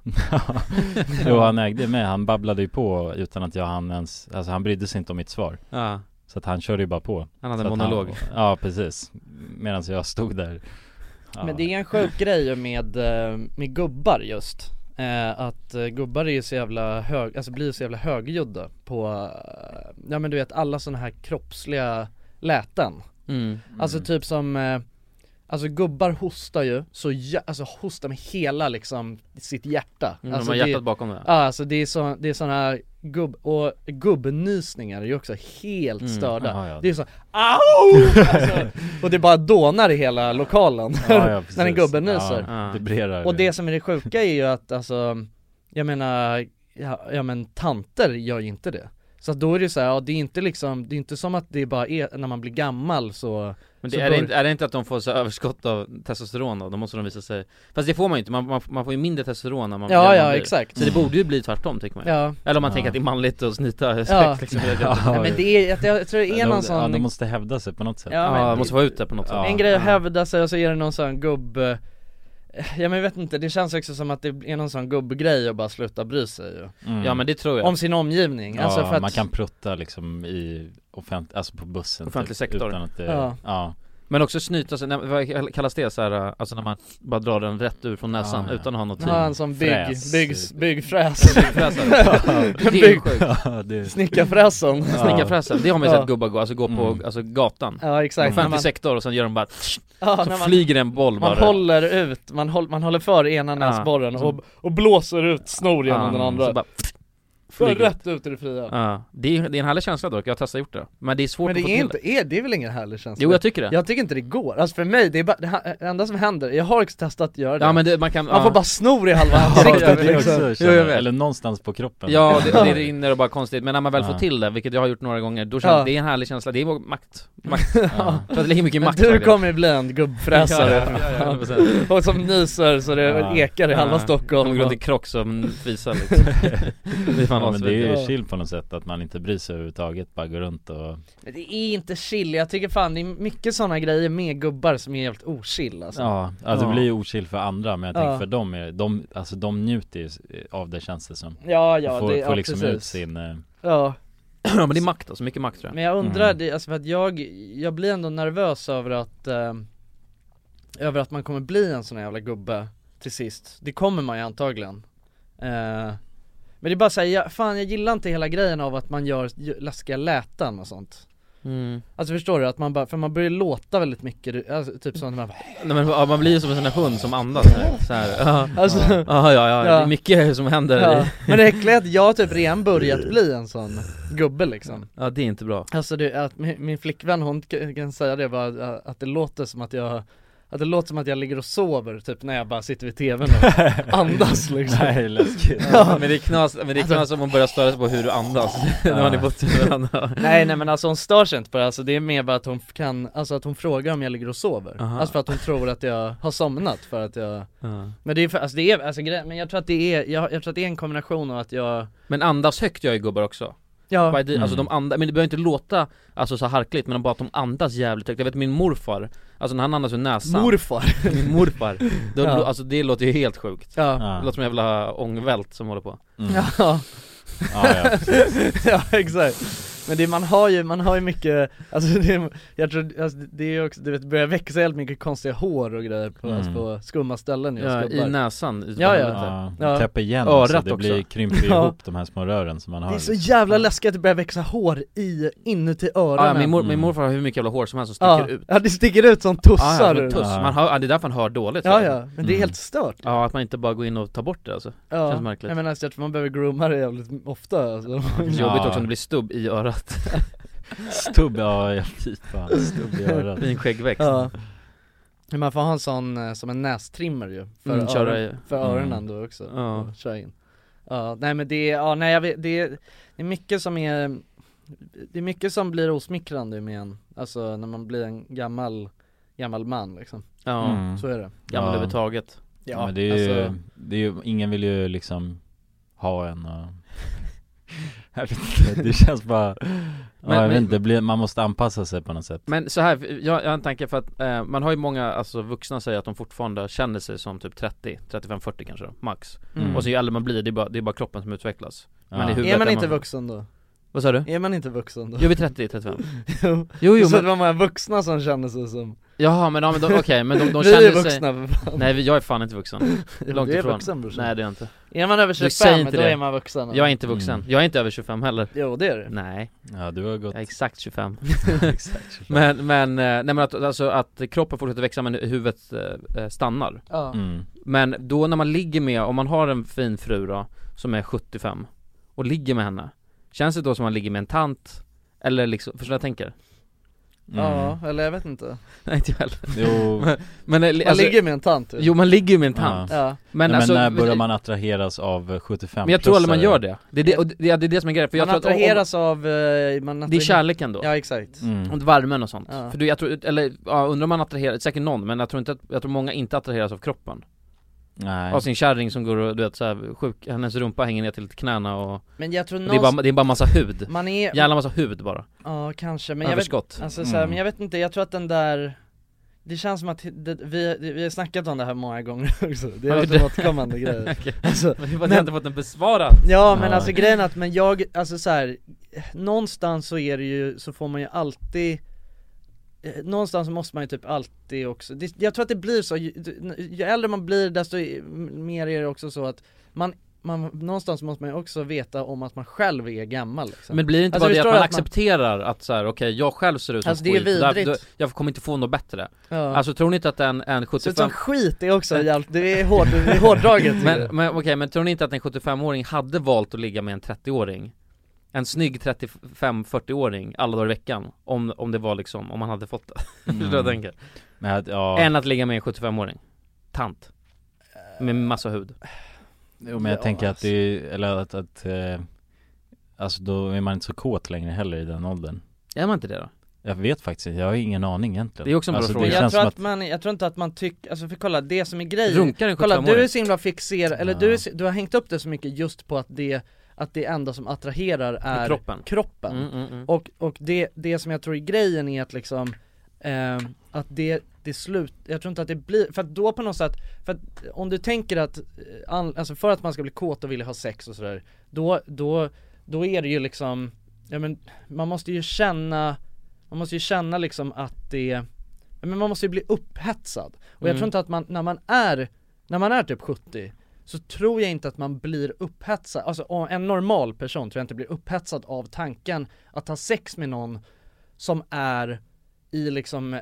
S3: Jo han ägde mig, han babblade ju på utan att jag hann ens, alltså han brydde sig inte om mitt svar
S1: Ja.
S3: Så att han körde ju bara på
S1: Han hade
S3: så
S1: en
S3: att
S1: monolog.
S3: Ja precis, medan jag stod där ja.
S4: Men det är en sjuk grej ju med, eh, med gubbar just Eh, att eh, gubbar är ju så jävla hög, alltså blir så jävla högljudda på, eh, ja men du vet alla sådana här kroppsliga läten
S1: Mm.
S4: Alltså typ som, eh, alltså gubbar hostar ju så jä- alltså hostar med hela liksom sitt hjärta
S1: Mm, de
S4: alltså,
S1: har hjärtat bakom det.
S4: Ja alltså det är, så, det är sådana gubb, och gubbnysningar är ju också helt
S1: Mm.
S4: störda
S1: Ja, ja.
S4: Det är så, au! Alltså, och det bara dånar i hela lokalen
S3: Ja, ja, precis.
S4: när en gubbe
S3: Ja,
S4: nyser
S3: ja. Vibrerar.
S4: Och det som är det sjuka är ju att alltså, jag menar, ja, ja men tanter gör ju inte det så att då är det ju så här, ja det är inte liksom, det är inte som att det bara är när man blir gammal så
S1: Men
S4: så
S1: det, är,
S4: bör-
S1: det inte, är det inte att de får så här överskott av testosteron då? Då måste de visa sig Fast det får man ju inte, man, man, man får ju mindre testosteron när man
S4: Ja,
S1: när man
S4: ja,
S1: blir.
S4: exakt.
S1: Så det borde ju bli tvärtom tycker man ju.
S4: Ja.
S1: Eller om man
S3: Ja.
S1: tänker att det är manligt att snyta
S4: Ja,
S1: sex liksom, det är-
S4: Nej, men det är, jag, jag tror det är
S3: de,
S4: någon
S3: Ja
S4: sån
S3: de måste hävda sig på något sätt
S4: Ja, men det- En grej att
S3: Ja.
S4: hävda sig och så är det någon sån gubb eh, Ja men jag vet inte, det känns också som att det är någon sån gubbgrej att bara sluta bry sig ju.
S3: Mm. Ja, men det tror jag.
S4: Om sin omgivning,
S3: Ja,
S4: alltså för att
S3: man kan prutta liksom i offent, alltså på bussen
S1: Offentlig sektor.
S3: utan att det,
S4: Ja.
S3: ja.
S1: Men också snyta sig, nej, vad kallas det så här, alltså när man bara drar den rätt ur från näsan
S4: Ja, ja.
S1: utan att ha något
S4: Ja, alltså, en sån bygg-
S1: typ Fräs. typ.
S4: byggs- byggfräs.
S1: Byggfräsare.
S4: Ja,
S1: Det är
S4: bygg-
S1: sjukt.
S4: Ja, det är- Snickarfräsen. Ja.
S1: Snickarfräsen, det har man ju
S4: Ja.
S1: sett gubbar gå, alltså gå på,
S4: Mm.
S1: alltså gatan
S4: Ja, exakt.
S1: Offentlig
S4: När man-
S1: sektor och sen gör de bara
S4: Ja,
S1: Mm. Så
S4: när man-
S1: flyger en boll
S4: Man
S1: bara
S4: håller ut, man, håll, man håller för ena näsborren och, och blåser ut snor genom
S1: Ja,
S4: den andra
S1: så bara-
S4: För
S1: flyger
S4: rätt ut i det fria
S1: Ja, det är, det är en härlig känsla dock, jag har testat gjort det Men det är svårt
S4: Men det
S1: att få
S4: är
S1: till
S4: inte, är, det är väl ingen härlig känsla?
S1: Jo, jag tycker det.
S4: Jag tycker inte det går, alltså för mig, det är bara, det här- det enda som händer, jag har också testat att göra det
S1: Ja, men det- man kan- ja.
S4: får bara snor i halva
S1: jag
S4: ansiktet
S1: vet.
S4: liksom
S1: Jo, jag vet.
S3: Eller någonstans på kroppen
S1: Ja, det, det rinner och bara konstigt, men när man väl
S3: Ja.
S1: får till det, vilket jag har gjort några gånger, då känns
S4: Ja.
S1: det är en härlig känsla, det är vår makt, makt. Ja. För att det ligger mycket makt
S4: Du
S1: faktiskt.
S4: kommer ju bli en gubbfräsare
S1: Ja, ja, ja, ja, precis.
S4: Och som nyser så det ekar i halva Stockholm
S1: De går runt i Crocs och fisar liksom Det är fan
S3: ja, men det är ju
S1: asfint.
S3: chill på något sätt att man inte bryr sig överhuvudtaget, bara går runt och
S4: Men det är inte chill, jag tycker fan det är mycket sådana grejer med gubbar som är helt ochill alltså.
S3: Ja, alltså det blir ju ochill för andra men jag tänker
S4: Ja.
S3: för dem, är, de, alltså de njuter ju av det känns det som
S4: Ja, ja,
S3: får,
S4: det-
S3: får
S4: ja,
S3: liksom
S4: precis.
S3: ut sin eh,
S4: Ja
S1: Ja men det är makt alltså, mycket makt tror jag
S4: Men jag undrar, det, alltså för att jag, jag blir ändå nervös över att eh, Över att man kommer bli en sån här jävla gubbe till sist Det kommer man ju antagligen eh, Men det är bara såhär, jag, fan jag gillar inte hela grejen av att man gör ju- läskiga läten och sånt
S1: Mm.
S4: Alltså förstår du? Att man bara, för man börjar låta väldigt mycket, du- alltså, typ som när man
S1: Nej, men, ja, man blir ju som en sån där hund som andas här, så här. Ja.
S4: Alltså-
S1: ja. Ja, ja, ja, det är mycket som händer
S4: Ja.
S1: i-
S4: Men det äckliga är att jag har typ redan börjat bli en sån gubbe liksom
S1: Ja det är inte bra
S4: Alltså det, att min, min flickvän hon k- kan säga det bara, eh, att- att det låter som att jag att det låter som att jag ligger och sover typ när jag bara sitter vid tvn och andas liksom
S1: Nej, läskigt. Men det är knas- men det är knas om hon börjar störa sig på hur du andas när man är på tvn.
S4: Nej nej men alltså hon stör sig inte på det, alltså det är mer bara att hon kan, alltså att hon frågar om jag ligger och sover
S1: Aha.
S4: Alltså för att hon tror att jag har somnat för att jag
S1: Ja.
S4: Men det är för, alltså det är, alltså grej, men jag tror att det är, jag, jag tror att det är en kombination av att jag
S1: Men andas högt gör ju gubbar också
S4: Ja.
S1: By the- Alltså
S4: Mm.
S1: de andas, men det behöver inte låta alltså, så harkligt men bara att de andas jävligt högt Jag vet min morfar, alltså när han andas ur näsan
S4: Morfar?
S1: Min morfar, då,
S4: Ja.
S1: alltså, det låter ju helt sjukt
S4: Ja.
S1: Det låter som en jävla ångvält som håller på
S4: Ja
S1: Ja, ja, precis.
S4: Ja, exakt Men det man har ju, man har ju mycket, alltså det, är- jag tror, alltså det är ju också, du vet det börjar växa helt mycket konstiga hår och grejer på,
S3: Mm.
S4: alltså på skumma ställen
S1: Ja,
S4: hos
S1: i
S4: gubbar.
S1: näsan, i
S4: Ja ja,
S3: ja,
S4: ja.
S3: Täpper igen så det blir, krymper ju
S4: Ja.
S3: ihop de här små rören som man har
S4: Det är så jävla läskigt att det börjar växa hår i, inuti öronen
S1: ja, min, mor, min morfar har hur mycket jävla hår som helst som
S4: Ja.
S1: sticker ut
S4: Ja, det sticker ut som tussar
S1: ja, ja,
S4: ur-
S1: som tuss.
S4: Ja.
S1: Man hör, ja, det är därför man hör dåligt
S4: Ja,
S1: hela
S4: ja,
S1: tiden.
S4: men det är helt stört.
S1: Ja att man inte bara går in och tar bort det alltså,
S4: Ja,
S1: känns märkligt
S4: jag menar alltså, jag tror man behöver grooma det jävligt ofta alltså.
S1: Jobbigt också om det blir stubb i örat
S3: Stubb, ja jag- fy fan, stubb i örat.
S1: Fin skäggväxt
S4: Ja. Men Man får ha en sån eh, som en nästrimmer ju, för,
S1: Mm, köra i-
S4: öron, för öronen
S1: Mm.
S4: då också,
S1: Ja.
S4: och köra in Ja, nej men det är, ja nej jag vet, det är, det är mycket som är Det är mycket som blir osmickrande med en, alltså när man blir en gammal, gammal man liksom
S1: Ja.
S3: Mm.
S4: Så är det
S1: Gammal överhuvudtaget
S3: Ja, men det är ju,
S1: alltså-
S3: det är ju, ingen vill ju liksom ha en och Jag vet inte, det känns bara, ja, jag
S1: men-
S3: vet inte, det blir, man måste anpassa sig på något sätt
S1: Men så här, jag, jag har en tanke för att eh, man har ju många, alltså vuxna säger att de fortfarande känner sig som typ 30, 35, 40 kanske då, max
S4: Mm.
S1: Och så ju äldre man blir, det är bara, det är bara kroppen som utvecklas
S4: Ja.
S1: i huvudet
S4: Är man inte vuxen då?
S1: Vad sa du?
S4: Är man inte vuxen då?
S1: Jo, vid 30, 35
S4: jo,
S1: jo, jo
S4: så
S1: men,
S4: det var många vuxna som kände sig som
S1: Jaha men, ja, men de- okej men de, de
S4: Vi är
S1: känner sig
S4: vuxna, för fan.
S1: Nej vi- jag är fan inte vuxen
S4: Jo,
S1: Långt
S4: du är
S1: ifrån
S4: vuxen, brorsan.
S1: Nej det är jag inte
S4: Är man över
S1: Du säger
S4: 25,
S1: inte
S4: då
S1: det.
S4: är man vuxen.
S1: Jag är inte vuxen, jag är inte över 25 heller
S4: Jo det är du
S1: Nej
S3: Ja du har gått
S1: Jag är exakt 25 Men, men, eh, nej men att, alltså att kroppen fortsätter växa men huvudet eh, eh, stannar
S4: Ja. Mm.
S1: Men då när man ligger med, om man har en fin fru då, som är 75 och ligger med henne Känns det då som man ligger med en tant? Eller liksom, förstår du vad jag tänker? Mm.
S4: Ja, eller jag vet inte
S1: Nej inte jag heller
S3: Mm. Jo.
S1: men, men, eh,
S4: Man ligger med en tant, ju.
S1: Jo man ligger ju med en tant
S4: Ja. Ja.
S3: Men,
S1: Men,
S3: Nej,
S1: alltså,
S3: men när börjar man attraheras av 75
S1: Men jag tror aldrig man gör det, det är det, och det, ja, det, är det som är grejen för jag
S4: Man
S1: tror att- om-
S4: attraheras av, eh, man attraher-
S1: Det är kärleken då? Mm.
S4: Ja exakt
S3: Mm.
S1: Och värmen och sånt.
S4: Ja.
S1: För du, jag tror, eller ja, undrar om man attraherar, säkert någon, men jag tror inte att, jag tror många inte attraheras av kroppen
S3: Nej.
S1: Av sin kärring som går och du vet såhär sjuk, hennes rumpa hänger ner till knäna och
S4: Men jag tror
S1: och det, är bara,
S4: någonstans-
S1: det är bara massa hud
S4: Man är-
S1: Jävla massa hud bara
S4: Ja kanske, men
S1: Överskott.
S4: jag vet, alltså, så här,
S1: Mm.
S4: men jag vet inte, jag tror att den där det känns som att det, vi, vi har snackat om det här många gånger också, det
S1: Har vi
S4: är också en
S1: det?
S4: återkommande grej
S1: Okej.
S4: alltså,
S1: Men det är bara att jag inte fått den besvarad.
S4: Ja men
S1: Ja.
S4: alltså grejen är att, men jag, alltså så här, någonstans så är det ju, så får man ju alltid eh, någonstans måste man ju typ alltid också, det, jag tror att det blir så, ju, ju äldre man blir desto i- mer är det också så att man man, någonstans måste man ju också veta om att man själv är gammal liksom.
S1: Men blir det inte
S4: Alltså,
S1: bara det att
S4: förstår
S1: man
S4: du
S1: accepterar att så här, okej jag själv ser ut som
S4: Alltså, det är
S1: skit, där-
S4: vidrigt.
S1: då- jag kommer inte få något bättre
S4: Ja.
S1: Alltså tror ni inte att en, en
S4: Så
S1: 75
S4: som skit är också jävligt, det är, hård, det är hårdraget
S1: Men,
S3: Mm.
S1: men okej, men tror ni inte att en 75-åring hade valt att ligga med en 30-åring? En snygg 35-40-åring alla dagar i veckan om, om det var liksom, om man hade fått det
S4: Mm.
S1: Förstår du vad jag tänker?
S3: Men att, Mm. ja,
S1: Än att ligga med en 75-åring Tant Med massa hud
S3: jo, men jag tänker
S4: alltså.
S3: att det är, eller att, att eh, Alltså då är man inte så kåt längre heller i den åldern
S1: Är man inte det då?
S3: Jag vet faktiskt inte, jag har ingen aning egentligen
S1: Det är också en bra
S3: alltså,
S1: fråga.
S3: Det
S1: Jag
S4: Jag
S3: känns
S4: tror
S3: som
S4: att,
S3: att,
S4: man, jag tror inte att man tycker, alltså för kolla det som är grejen
S1: Runkar en
S4: Kolla du
S1: 75-åring?
S4: är så himla fixerad, eller du, är, så- du har hängt upp det så mycket just på att det, att det enda som attraherar är
S1: kroppen.
S4: kroppen.
S1: Mm, mm, mm.
S4: Och, och det, det som jag tror är grejen är att liksom, ehm, att det, det slut, jag tror inte att det blir, för att då på något sätt, för att om du tänker att, eh, an, alltså för att man ska bli kåt och vilja ha sex och sådär, då, då, då är det ju liksom, ja men man måste ju känna, man måste ju känna liksom att det, ja, men man måste ju bli upphetsad. Och jag
S1: Mm.
S4: tror inte att man, när man är, när man är typ 70 så tror jag inte att man blir upphetsad, alltså å- en normal person tror jag inte blir upphetsad av tanken att ha sex med någon som är i liksom, eh,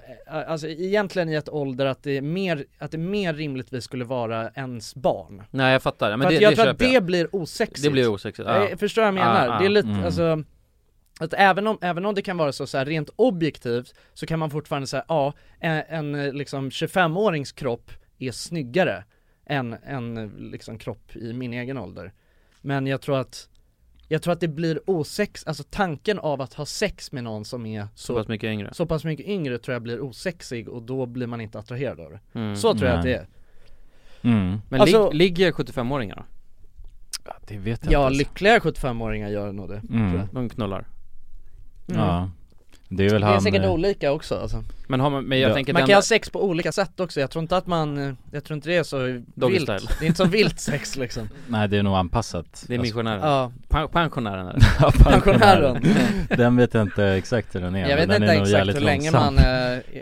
S4: alltså egentligen i ett ålder att det är mer, att det mer rimligtvis skulle vara ens barn.
S1: Nej jag fattar, Ja, men
S4: För
S1: det,
S4: att jag
S1: det
S4: tror att
S1: köper
S4: det
S1: jag
S4: blir osexigt.
S1: Det blir osexigt, ja.
S4: Eh, Förstår jag vad jag menar?
S1: Ja, ja.
S4: Det är lite,
S1: Mm.
S4: alltså att även om, även om det kan vara så, så här, rent objektivt så kan man fortfarande säga ja, en, en eh, liksom 25-årings kropp är snyggare än en eh, liksom kropp i min egen ålder. Men jag tror att jag tror att det blir osex, alltså tanken av att ha sex med någon som är
S1: så pass mycket yngre
S4: så pass mycket yngre tror jag blir osexig och då blir man inte attraherad av det.
S1: Mm.
S4: Så tror jag att det är.
S3: mm,
S1: Men
S4: Alltså-
S1: lig, ligger 75-åringar då?
S3: det vet jag inte
S4: Ja,
S3: alltså.
S4: lyckliga 75-åringar gör nog det.
S3: Mm.
S4: Tror jag.
S1: De knullar
S4: Mm.
S3: Ja Det är väl
S4: Det
S3: han
S4: är säkert
S3: eh,
S4: olika också alltså.
S1: Men har man, men jag
S3: Ja.
S1: tänker
S4: Man
S1: den
S4: kan ha sex på olika sätt också, jag tror inte att man, eh, jag tror inte det är så
S1: Doggy
S4: vilt,
S1: style.
S4: det är inte så vilt sex liksom
S3: Nej det är nog anpassat Alltså,
S1: Det är missionären,
S4: Ja,
S1: Pen- pensionären är det.
S3: Ja,
S4: pensionären
S3: Den vet jag inte exakt hur den är
S4: Jag
S3: men
S4: vet
S3: den
S4: inte
S3: är nog
S4: exakt
S3: jävligt
S4: hur länge
S3: långsam.
S4: man,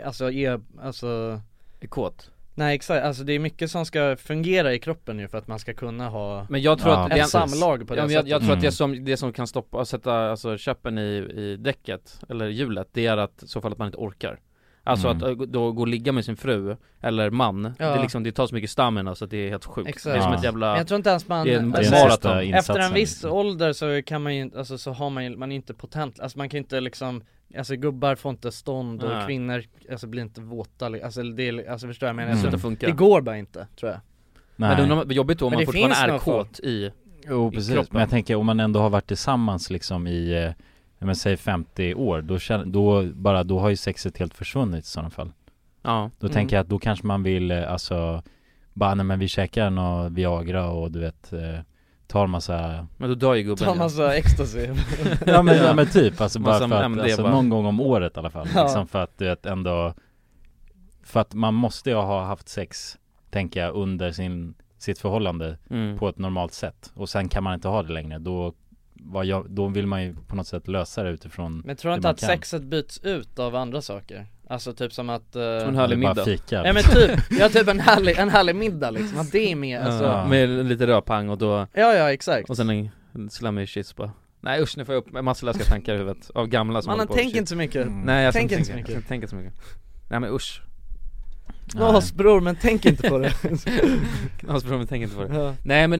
S4: eh, alltså är, alltså
S1: är kåt
S4: Nej exakt, alltså det är mycket som ska fungera i kroppen ju för att man ska kunna ha
S1: Men jag tror
S3: Ja,
S1: att
S4: ett
S1: det,
S3: precis.
S4: samlag på det
S1: ja, men jag,
S4: sättet
S1: jag tror att det
S3: Mm.
S1: som, det som kan stoppa, sätta alltså käppen i, i däcket, eller hjulet, det är att i så fall att man inte orkar Alltså
S3: Mm.
S1: att eh, då gå och ligga med sin fru, eller man,
S4: Ja.
S1: det, är liksom, det tar så mycket stamina så att det är helt sjukt
S4: Exakt.
S1: Det är som
S3: Ja.
S1: ett
S4: Men
S1: jävla,
S4: jag tror inte ens man,
S1: det är en
S3: Det är
S1: alltså,
S3: den sista
S1: maraton.
S3: insatsen,
S4: Efter en viss
S3: liksom.
S4: ålder så kan man ju inte, alltså så har man ju, man är inte potent, alltså man kan inte liksom Alltså gubbar får inte stånd och
S1: Nej.
S4: kvinnor, alltså blir inte våta, li- alltså det är, alltså förstår jag men
S1: det
S4: jag
S3: Mm.
S1: slutar
S4: tror,
S1: funka
S4: det går bara inte tror jag
S1: Men det
S3: Nej.
S1: undrar- jobbigt då om
S4: Men
S1: man
S4: det
S1: fortfarande
S4: finns
S1: är
S4: nog folk.
S1: kåt i,
S3: Jo
S1: i
S3: precis,
S1: kroppen.
S3: men jag tänker om man ändå har varit tillsammans liksom i, eh, ja, men säg 50 år, då, känner, då, bara, då har ju sexet helt försvunnit i sådana fall
S1: ja
S3: Då
S4: Mm.
S3: tänker jag att då kanske man vill, eh, alltså, bara nej men vi käkar någon Viagra och du vet, eh, tar massa
S1: Men då dör ju gubben
S4: Ta
S1: ja.
S4: massa ecstasy
S3: Ja men, ja, men typ, alltså bara
S1: Massa
S3: för att,
S1: MD
S3: alltså,
S1: bara.
S3: någon gång om året i alla fall
S4: Ja.
S3: liksom, för att du vet ändå För att man måste ju ha haft sex, tänker jag, under sin, sitt förhållande
S1: mm.
S3: på ett normalt sätt och sen kan man inte ha det längre då, vad jag, då vill man ju på något sätt lösa det utifrån
S4: Men tror du
S3: Det
S4: inte
S3: man
S4: att
S3: kan.
S4: sexet byts ut av andra saker? Alltså typ som att... eh,
S1: Som en härlig
S3: bara
S1: middag
S3: fika
S4: Ja men typ, ja typ en härlig, en härlig middag liksom, att det är med alltså
S1: Ja, Med lite rödpang och då,
S4: Ja ja exakt
S1: och sen en, en slammig kyss bara Nej usch nu får jag upp en massa läskiga tankar i huvudet av gamla som
S4: Mannen
S1: håller på och
S4: tänker
S1: kyss.
S4: inte så mycket,
S1: Nej jag
S4: Tänk
S1: tänker
S4: inte
S1: inte
S4: så
S1: så mycket, jag tänker inte så mycket Nej men usch,
S4: lås bror men tänk inte på det
S1: knasbro men tänk inte på det
S4: ja.
S1: Nej men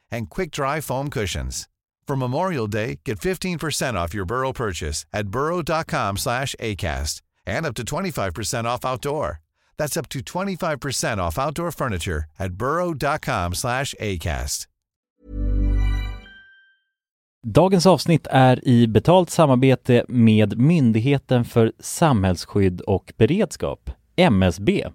S2: and quick-dry foam cushions. For Memorial Day, get 15% off your Burrow purchase at burrow.com/acast and up to 25% off outdoor. That's up to 25% off outdoor furniture at burrow.com/acast.
S3: Dagens avsnitt är i betalt samarbete med Myndigheten för samhällsskydd och beredskap, MSB.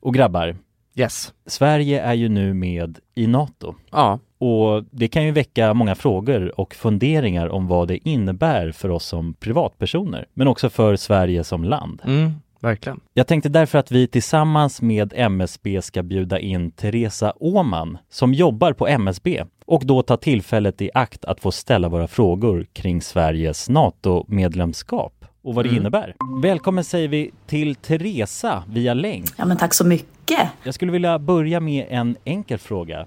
S3: Och grabbar,
S1: Mm, yes.
S3: Sverige är ju nu med i NATO.
S1: Ja.
S3: Och det kan ju väcka många frågor och funderingar om vad det innebär för oss som privatpersoner, men också för Sverige som land.
S4: Mm, verkligen.
S3: Jag tänkte därför att vi tillsammans med MSB ska bjuda in Teresa Åman som jobbar på MSB och då ta tillfället i akt att få ställa våra frågor kring Sveriges NATO-medlemskap och vad det
S6: Mm.
S3: innebär. Välkommen säger vi till Teresa via länk.
S6: Ja, men tack så mycket.
S3: Jag skulle vilja börja med en enkel fråga.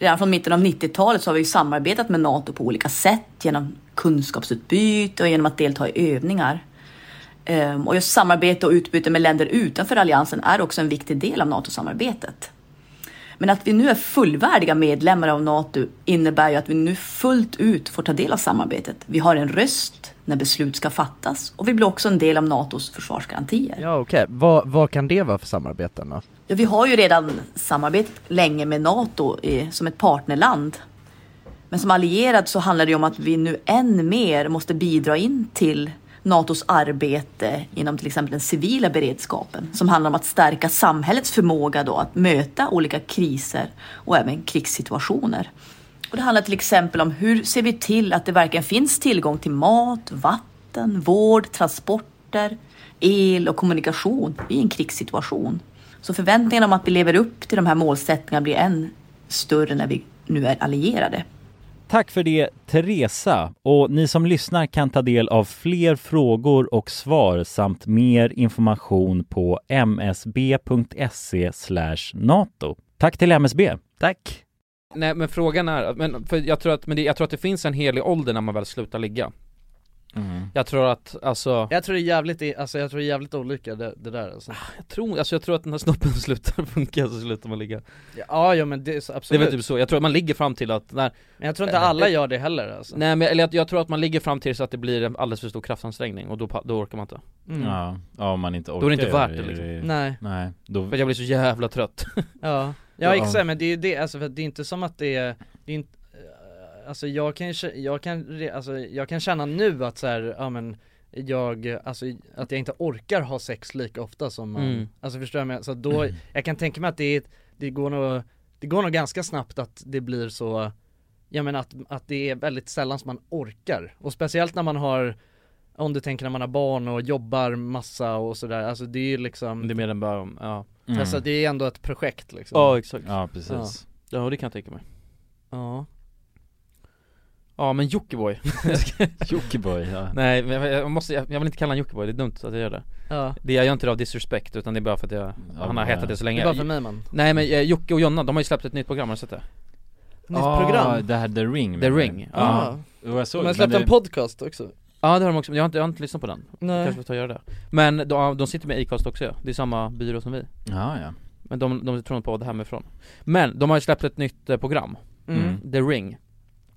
S6: Redan från mitten av 90-talet så har vi ju samarbetat med NATO på olika sätt genom kunskapsutbyte och genom att delta i övningar. Ehm, Och just samarbete och utbyte med länder utanför alliansen är också en viktig del av NATO-samarbetet. Men att vi nu är fullvärdiga medlemmar av NATO innebär ju att vi nu fullt ut får ta del av samarbetet. Vi har en röst när beslut ska fattas och vi blir också en del av NATOs försvarsgarantier.
S4: Ja okej, vad, vad kan det vara för samarbeten då?
S6: Ja, vi har ju redan samarbetat länge med NATO i, som ett partnerland. Men som allierad så handlar det ju om att vi nu än mer måste bidra in till NATOs arbete inom till exempel den civila beredskapen som handlar om att stärka samhällets förmåga då att möta olika kriser och även krigssituationer. Och det handlar till exempel om hur ser vi till att det verkligen finns tillgång till mat, vatten, vård, transporter, el och kommunikation i en krigssituation. Så förväntningarna om att vi lever upp till de här målsättningarna blir än större när vi nu är allierade.
S3: Tack för det Teresa och ni som lyssnar kan ta del av fler frågor och svar samt mer information på msb.se E NATO. Tack till MSB.
S1: Tack. Nej men frågan är, men för jag tror att, men det, jag tror att det finns en helig ålder när man väl slutar ligga Jag tror att, alltså
S4: Jag tror det är jävligt, i- alltså jag tror det är jävligt olika det, det där alltså.
S1: Jag tror, alltså jag tror att när snoppen slutar funka så slutar man ligga
S4: Ja, ja men det är så,
S1: Det är
S4: absolut
S1: väl typ så, jag tror att man ligger fram till att när
S4: Men jag tror inte alla gör det heller alltså
S1: Nej men eller jag, jag tror att man ligger fram till så att det blir en alldeles för stor kraftansträngning och då, pa- då orkar man inte
S4: Mm.
S7: Ja, ja, om man inte orkar
S1: Då är det inte
S7: göra
S1: värt det liksom
S4: Nej.
S7: Nej, då...
S1: För jag blir så jävla trött
S4: Ja, ja exakt men det är ju det, alltså för att det är inte som att det är, det är inte, eh, alltså jag kan, ju kä- jag kan, re- alltså jag kan känna nu att så här, ja men jag, eh, alltså att jag inte orkar ha sex lika ofta som man,
S1: Mm.
S4: alltså förstår jag mig? Så då, jag kan tänka mig att det, är- det går nog, det går nog ganska snabbt att det blir så, ja men att, att det är väldigt sällan som man orkar, och speciellt när man har om du tänker när man har barn och jobbar massa och sådär, alltså
S1: Mm.
S4: det är ju liksom
S1: Det är mer än bara, ja
S3: mm.
S4: Alltså det är ändå ett projekt liksom
S1: Ja exakt
S7: Ja precis
S1: Ja det kan jag tänka mig
S4: Ja
S1: Ja men Jockiboi
S3: Jockiboi ja
S1: Nej men jag, jag måste, jag, jag vill inte kalla honom Jockiboi, det är dumt att jag gör det
S4: Ja.
S1: Det jag gör inte det av disrespect utan det är bara för att jag, han har
S4: ja.
S1: hetat det så länge
S4: Det är bara för mig, man.
S1: Nej men eh, Jocke och Jonna, de har ju släppt ett nytt program, har du sett det?
S4: Nytt Ah. program?
S3: Ah,
S4: Ah.
S3: det här The Ring
S1: The
S3: menar
S1: Ring,
S3: du? Ah.
S1: ja
S3: Jo, jag såg
S4: De har
S3: det,
S4: släppt
S3: men
S4: en podcast också
S1: Ja det har de också, men jag har inte, jag har inte lyssnat på den
S4: Nej.
S1: Kanske får ta och göra det Men de, de sitter med Acast också ja. det är samma byrå som vi
S3: Ja ja
S1: Men de, de tror nog på det hemifrån Men de har ju släppt ett nytt eh, program
S3: Mm.
S1: The Ring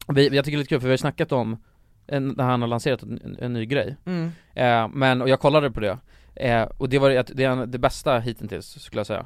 S1: vi, Jag tycker det är lite kul för vi har snackat om en, när han har lanserat en, en, ny grej
S4: Mm.
S1: eh, Men, och jag kollade på det eh, Och det var det, det, är en- det bästa hittills skulle jag säga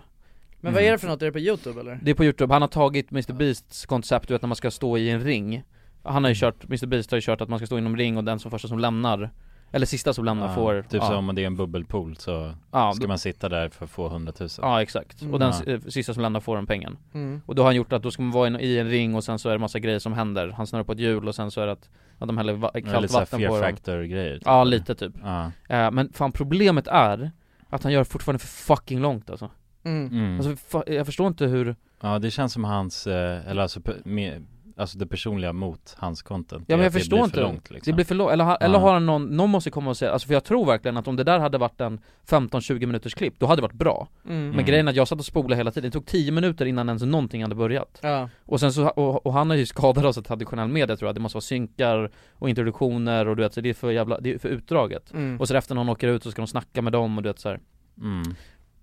S4: Men vad är det för något? Är det på youtube eller?
S1: Det är på youtube, han har tagit Mr Beasts koncept, du vet när man ska stå i en ring Han har ju
S3: Mm.
S1: kört, Mr Beast har ju kört att man ska stå i en ring och den som första som lämnar Eller sista som lämnar
S3: Ja,
S1: får
S3: Typ så om det är en bubbelpool så
S1: Ja,
S3: ska
S1: då-
S3: man sitta där för att få 100 000
S1: Ja exakt, och den s- eh, sista som lämnar får den pengen
S4: Mm.
S1: Och då har han gjort att då ska man vara i en, i en ring och sen så är det massa grejer som händer Han snurrar på ett hjul och sen så är det att, att de häller va-
S3: lite
S1: kallt
S3: så här
S1: vatten
S3: fear
S1: på
S3: factor grejer, typ,
S1: Ja
S3: eller?
S1: lite typ
S3: Ja.
S1: Eh, Men fan problemet är att han gör fortfarande för fucking långt alltså
S4: Mm.
S3: Mm.
S1: Alltså fa- jag förstår inte hur
S3: Ja det känns som hans, eh, eller alltså, pe- med, alltså det personliga mot hans content
S1: Ja
S3: är
S1: men jag
S3: att det
S1: förstår
S3: blir
S1: inte,
S3: för långt, liksom.
S1: det blir för långt, eller, ha- eller har han någon, någon måste komma och säga, alltså för jag tror verkligen att om det där hade varit en 15-20 minuters klipp, då hade det varit bra
S4: Mm.
S1: Men
S4: Mm.
S1: grejen är att jag satt och spolade hela tiden, det tog 10 minuter innan ens någonting hade börjat
S4: Ja.
S1: Och sen så, och, och han har ju skadat oss av traditionell media tror jag, det måste vara synkar och introduktioner och du vet, så det är för jävla, det är för utdraget
S4: Mm.
S1: Och så efter när hon åker ut så ska de snacka med dem och du vet så här.
S3: Mm.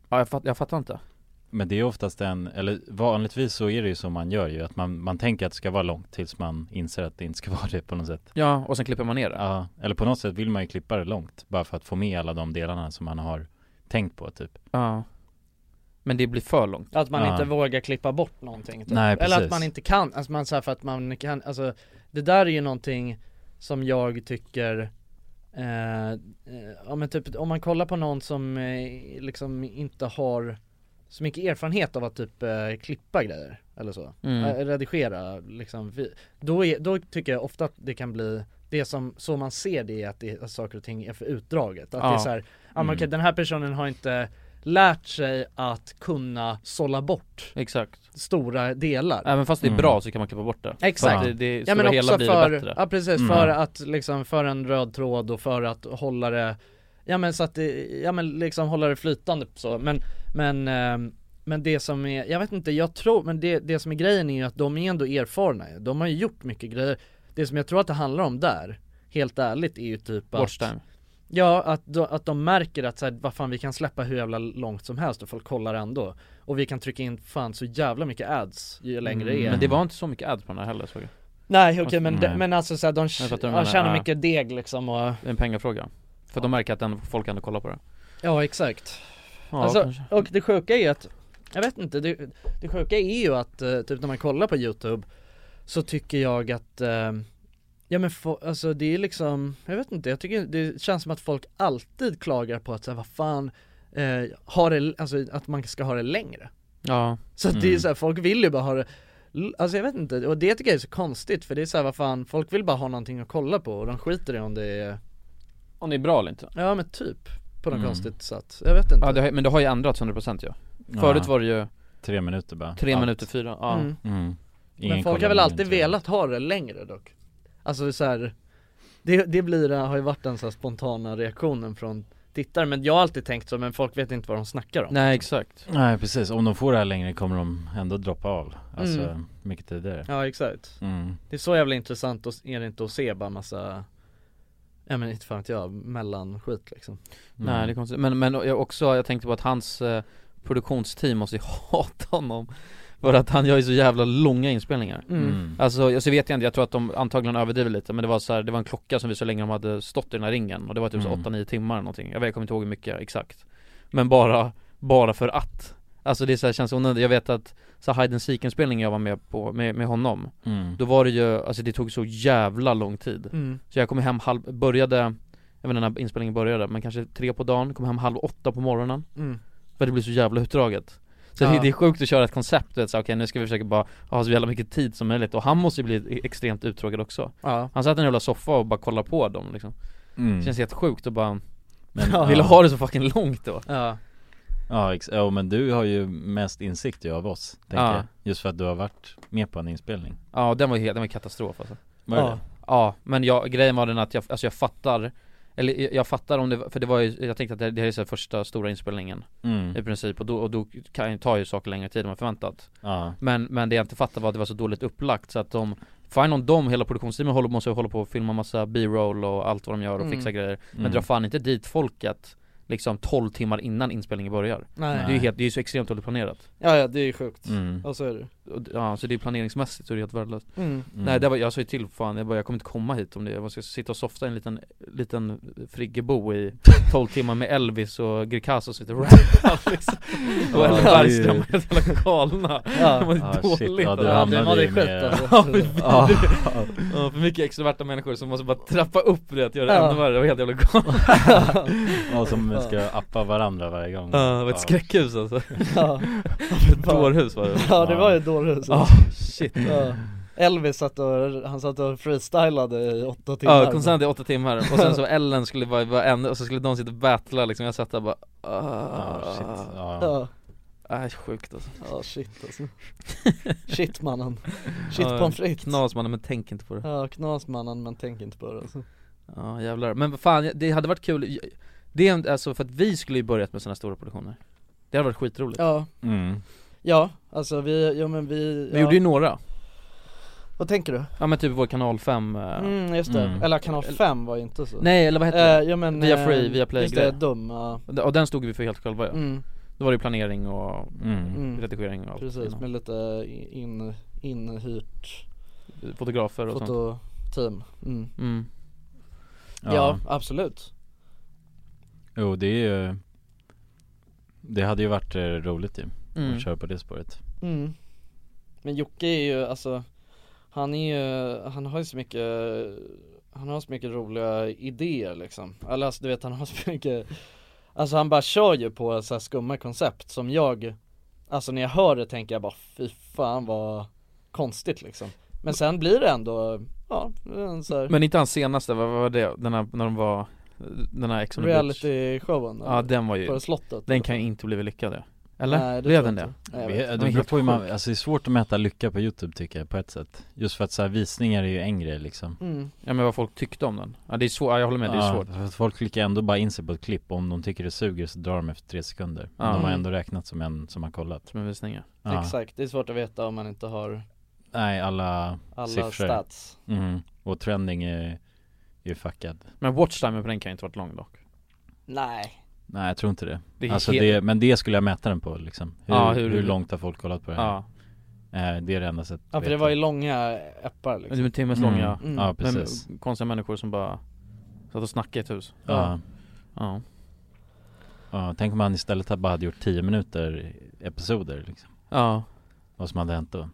S1: Ja jag, fatt, jag fattar inte
S3: Men det är oftast en, eller vanligtvis så är det ju som man gör ju, att man, man tänker att det ska vara långt tills man inser att det inte ska vara det på något sätt
S1: Ja, och sen klipper man ner det
S3: Ja, eller på något sätt vill man ju klippa det långt, bara för att få med alla de delarna som man har tänkt på typ
S1: Ja Men det blir för långt
S4: Att man
S3: Ja.
S4: inte vågar klippa bort någonting typ.
S3: Nej,
S4: Eller att
S3: precis.
S4: man inte kan, alltså man så här för att man kan, alltså Det där är ju någonting som jag tycker eh, eh, Ja men typ om man kollar på någon som eh, liksom inte har så mycket erfarenhet av att typ eh, klippa grejer eller så,
S1: Mm.
S4: eh, redigera liksom vi, då, är, då tycker jag ofta att det kan bli det som, så man ser det är att, det, att saker och ting är för utdraget, att det är
S1: Ja.
S4: så här, ja men
S1: Mm.
S4: okej den här personen har inte lärt sig att kunna sålla bort
S1: Exakt Mm.
S4: stora delar
S1: Även fast det är bra så kan man klippa bort det För att
S4: Exakt,
S1: det, det,
S4: ja men
S1: stora hela
S4: också
S1: blir
S4: för,
S1: det bättre
S4: ja precis, för att liksom, för en röd tråd och för att hålla det Ja men så att det, ja men liksom hålla det flytande så, men, men ehm, men det som är, jag vet inte, jag tror, men det, det som är grejen är ju att de är ändå erfarna De har ju gjort mycket grejer Det som jag tror att det handlar om där, helt ärligt, är ju typ att
S1: Watch time.
S4: Ja, att de, att de märker att så här, vad fan vi kan släppa hur jävla långt som helst och folk kollar ändå Och vi kan trycka in fan så jävla mycket ads ju längre det är
S1: Mm, Men det var inte så mycket ads på den här heller såg jag
S4: Nej okej men,
S1: Nej.
S4: de- men alltså såhär, de
S1: Jag fattar vad du
S4: ja,
S1: menar,
S4: tjänar
S1: ja.
S4: mycket deg liksom och
S1: Det är en pengafråga För de märker att den, folk ändå kollar på det
S4: Ja exakt
S1: Ja,
S4: alltså,
S1: kanske.
S4: Och det sjuka är ju att Jag vet inte, det, det sjuka är ju att eh, typ när man kollar på youtube Så tycker jag att eh, Ja men fo- alltså det är liksom Jag vet inte, jag tycker det känns som att folk alltid klagar på att såhär, vad fan eh, Har det, alltså att man ska ha det längre
S1: Ja
S4: Så att
S1: Mm.
S4: det är så här, folk vill ju bara ha det Alltså jag vet inte, och det tycker jag är så konstigt för det är så här, vad fan, folk vill bara ha någonting att kolla på och de skiter i om det är
S1: Om det är bra eller inte
S4: Ja men typ, på något
S1: Mm.
S4: konstigt sätt, jag vet inte
S1: Ja det har, men det har ju ändrats 100% ju Förut var det ju
S3: Tre minuter bara
S1: tre
S3: Allt.
S1: minuter fyra, ja
S4: Mm.
S3: Mm. Ingen
S4: Men folk
S3: kollar
S4: har väl
S3: längre
S4: alltid
S3: än tre
S4: velat ha det längre dock Alltså så här, det, det blir, eh, har ju varit den så här spontana reaktionen från tittare men jag har alltid tänkt så, men folk vet inte vad de snackar om
S1: Nej exakt
S3: Nej precis, om de får det här längre kommer de ändå droppa av Alltså
S4: Mm.
S3: mycket tidigare
S4: Ja exakt
S3: Mm.
S4: Det är så jävla intressant och är det inte att se bara massa Ja men inte fan vet jag, mellanskit liksom
S1: Nej
S3: Mm.
S1: det är konstigt, men, men jag också, jag tänkte på att hans eh, produktionsteam måste ju hata honom För att han gör ju så jävla långa inspelningar
S4: Mm. Mm.
S1: Alltså jag så vet jag inte, jag tror att de antagligen överdriver lite men det var så här, det var en klocka som visade hur länge de hade stått i den här ringen och det var typ så
S3: Mm.
S1: 8-9 timmar eller någonting, jag, vet, jag kommer inte ihåg hur mycket exakt Men bara, bara för att Alltså det är så här, känns onödigt, jag vet att så här, hide and seek inspelningen jag var med på, med, med honom
S3: Mm.
S1: Då var det ju, alltså det tog så jävla lång tid
S4: Mm.
S1: Så jag kom hem halv, började, jag vet inte när inspelningen började men kanske tre på dagen, kom hem halv åtta på morgonen
S4: Mm.
S1: För det blir så jävla utdraget Så det,
S4: Ja.
S1: det är sjukt att köra ett koncept, du vet så här, okej nu ska vi försöka bara ha så jävla mycket tid som möjligt och han måste ju bli e-, extremt uttråkad också
S4: Ja.
S1: Han satt i en jävla soffa och bara kollade på dem liksom
S3: Mm.
S1: Det känns helt sjukt att bara
S3: Men-
S1: Vill
S3: Ja.
S1: ha det så fucking långt då
S4: Ja
S3: Ja, ex- ja men du har ju mest insikt ju av oss, tänker
S1: Ja.
S3: jag Just för att du har varit med på en inspelning
S1: Ja den var helt, den var katastrof alltså
S3: Var det
S1: ja.
S3: det?
S1: ja, men jag, grejen var den att jag, alltså jag fattar Eller jag- jag fattar om det, var- för det var ju, jag tänkte att det, det här är så här första stora inspelningen
S3: Mm.
S1: I princip, och då, och då kan, ju- tar ju saker längre tid än man förväntat
S3: Ja.
S1: men, men det jag inte fattade var att det var så dåligt upplagt så att de Fan om de, hela produktionsteamet håller, måste hålla på och filma massa b-roll och allt vad de gör och
S8: Mm.
S1: fixa grejer Men
S8: Mm.
S1: dra fan inte dit folket Liksom 12 timmar innan inspelningen börjar
S4: Nej.
S1: Det är ju helt, det är ju så extremt dåligt planerat
S4: Ja ja, det är ju sjukt.
S1: Mm.
S4: Ja så är det.
S1: och- Ja, så det är planeringsmässigt så det är helt värdelöst
S4: Mm. Mm.
S1: Nej, det var, jag sa ju till fan, jag bara jag kommer inte komma hit om det, jag ska sitta och softa i en liten, liten friggebo i 12 timmar med Elvis och Greekazo sitter och rappar liksom Och
S8: Ja,
S1: Ellen
S8: det är ju-
S1: Bergström och helt jävla galna
S8: Ja.
S1: Det var ju
S8: Ah, shit.
S1: dåligt
S8: Ja, du Ja, hamnade det var ju det med- skett, alltså.
S1: Ja, men-
S8: Ja.
S1: Ja, för mycket extroverta människor som måste bara trappa upp det, att göra det
S8: Ja.
S1: ännu värre, det var helt jävla galet
S3: Ja, som ska appa varandra varje gång
S1: Ja, det var ett skräckhus alltså
S4: Ja.
S1: Ett dårhus var det
S4: Ja det var ju ett dårhus
S1: Ja,
S4: alltså.
S1: shit
S4: Ja. Elvis satt och, han satt och freestylade i åtta timmar
S1: Ja, konstant i åtta timmar, och sen så Ellen skulle vara, vara en, och så skulle de sitta och battla liksom, jag satt där och bara ah, shit,
S4: Ja.
S1: Nej, sjukt alltså
S4: Ja shit alltså Shit mannen Shit
S1: Ja,
S4: pommes frites
S1: Knas mannen, men tänk inte på det
S4: Ja knas mannen men tänk inte på det alltså.
S1: Ja jävlar, men vad fan det hade varit kul, det är en- alltså för att vi skulle ju börjat med sådana stora produktioner Det hade varit skitroligt
S4: Ja.
S3: Mm.
S4: Ja, alltså vi, ja men vi
S1: Vi
S4: ja.
S1: gjorde ju några,
S4: Vad tänker du?
S1: ja men typ vår kanal 5
S4: Mm just det, eller kanal 5 var ju inte så
S1: Nej eller vad hette
S4: Eh, ja, men,
S1: Via
S4: eh,
S1: Free, via Play
S4: just det, dum, ja.
S1: Och den stod vi för helt själva ja.
S4: Mm.
S1: Då var det ju planering och
S4: Mm.
S1: redigering och allt
S4: Precis, med lite in, inhyrt
S1: Fotografer och sånt
S4: fototeam mm.
S1: Mm.
S4: Ja.
S3: Ja.
S4: absolut
S3: Jo det är ju Det hade ju varit eh, roligt ju,
S4: Mm.
S3: att köra på det spåret
S4: mm. Men Jocke är ju alltså Han är ju, han har ju så mycket Han har så mycket roliga idéer liksom Eller alltså du vet han har så mycket Alltså han bara kör ju på så här skumma koncept som jag Alltså när jag hör det tänker jag bara fy fan vad konstigt liksom Men sen blir det ändå, ja, en så här
S1: Men inte hans senaste, vad vad var det? Den här, när de var, den här Ex on the Beach.
S4: Reality-showen,
S1: Ja
S4: eller?
S1: den var ju,
S4: På det slottet, typ.
S1: den kan ju inte bli lyckad ja. Eller?
S4: Nej, det
S1: Blev
S4: tror
S1: den
S4: jag
S1: det?
S4: inte. Nej, jag
S3: Det
S4: vet
S1: inte.
S3: beror på hur man,
S1: Sjukt.
S3: alltså det är svårt att mäta lycka på youtube tycker jag på ett sätt Just för att så här, visningar är ju en grej liksom
S4: Mm.
S1: Ja men vad folk tyckte om den. Ja det är svårt, ja, jag håller med, det är
S3: Ja,
S1: svårt.
S3: för att folk klickar ändå bara in sig på ett klipp och om de tycker det suger så drar de efter tre sekunder Men
S1: Ja. Mm.
S3: De har ändå räknat som en som har kollat
S1: Som en visning ja.
S4: Exakt, det är svårt att veta om man inte har
S3: Nej alla,
S4: Alla
S3: siffror
S4: stats.
S3: mm. Och trending är ju fuckad
S1: Men watchtimen på den kan ju inte varit lång dock.
S4: Nej
S3: Nej jag tror inte det,
S1: Det är
S3: alltså
S1: helt-
S3: det, Men det skulle jag mäta den på liksom Hur,
S1: Ja, hur-
S3: hur... långt har folk kollat på det här? Eh, det är det enda sättet
S4: Ja
S3: att
S4: för det
S3: veta.
S4: var ju långa appar liksom
S1: Det är timmes lång ja.
S3: Mm. Ja, precis.
S1: Men konstiga människor som bara satt och snackade i ett hus.
S3: Ja.
S1: Ja.
S3: Ja, tänk om han istället hade bara hade gjort 10 minuter episoder liksom
S1: Ja.
S3: Vad som hade hänt då?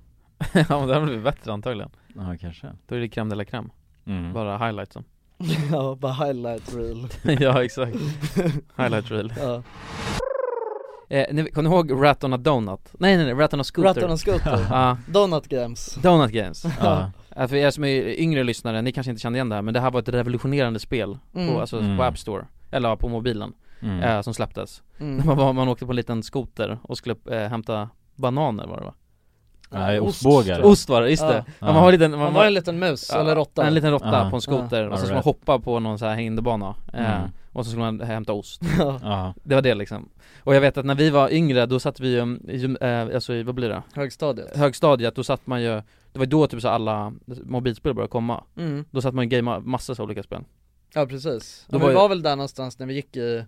S1: ja men det hade blivit bättre antagligen.
S3: Ja kanske
S1: Då är det crème de la crème.
S3: Mm.
S1: Bara highlightsen.
S4: Ja, bara highlight reel
S1: ja exakt. Highlight reel.
S4: Ja.
S1: Eh, ni, kommer ni ihåg Rat on a Donut? Nej nej nej, Rat on a Scooter
S4: Rat on a Scooter.
S1: Ja.
S4: Donut Games
S1: Donut Games
S4: Ja.
S1: Ja, För er som är yngre lyssnare, ni kanske inte kände igen det här men det här var ett revolutionerande spel
S8: Mm.
S1: på, alltså,
S8: Mm.
S1: på App Store, eller ja, på mobilen,
S8: Mm.
S1: eh, som släpptes
S8: Mm.
S1: man, var, man åkte på en liten skoter och skulle eh, hämta bananer var det va?
S3: Nej, ostbågar.
S1: Ost var det, just
S4: Ja.
S1: det!
S4: Ja.
S1: Ja. Man, var liten,
S4: Man var en liten mus, eller råtta.
S1: En liten råtta
S4: Ja.
S1: på en skoter
S4: Ja.
S1: och så skulle man
S4: Alright.
S1: hoppa på någon så här hinderbana eh,
S4: Mm.
S1: Och så skulle man hämta ost
S4: Ja.
S3: Ja.
S1: Det var det liksom Och jag vet att när vi var yngre då satt vi um, i, gym- eh, alltså i, vad blir det?
S4: Högstadiet
S1: Högstadiet, då satt man ju Det var då typ så alla mobilspel började komma
S4: Mm.
S1: Då satt man och gamea massa så olika spel
S4: Ja precis,
S1: Då
S4: ja,
S1: var
S4: vi
S1: ju-
S4: var väl där någonstans när vi gick i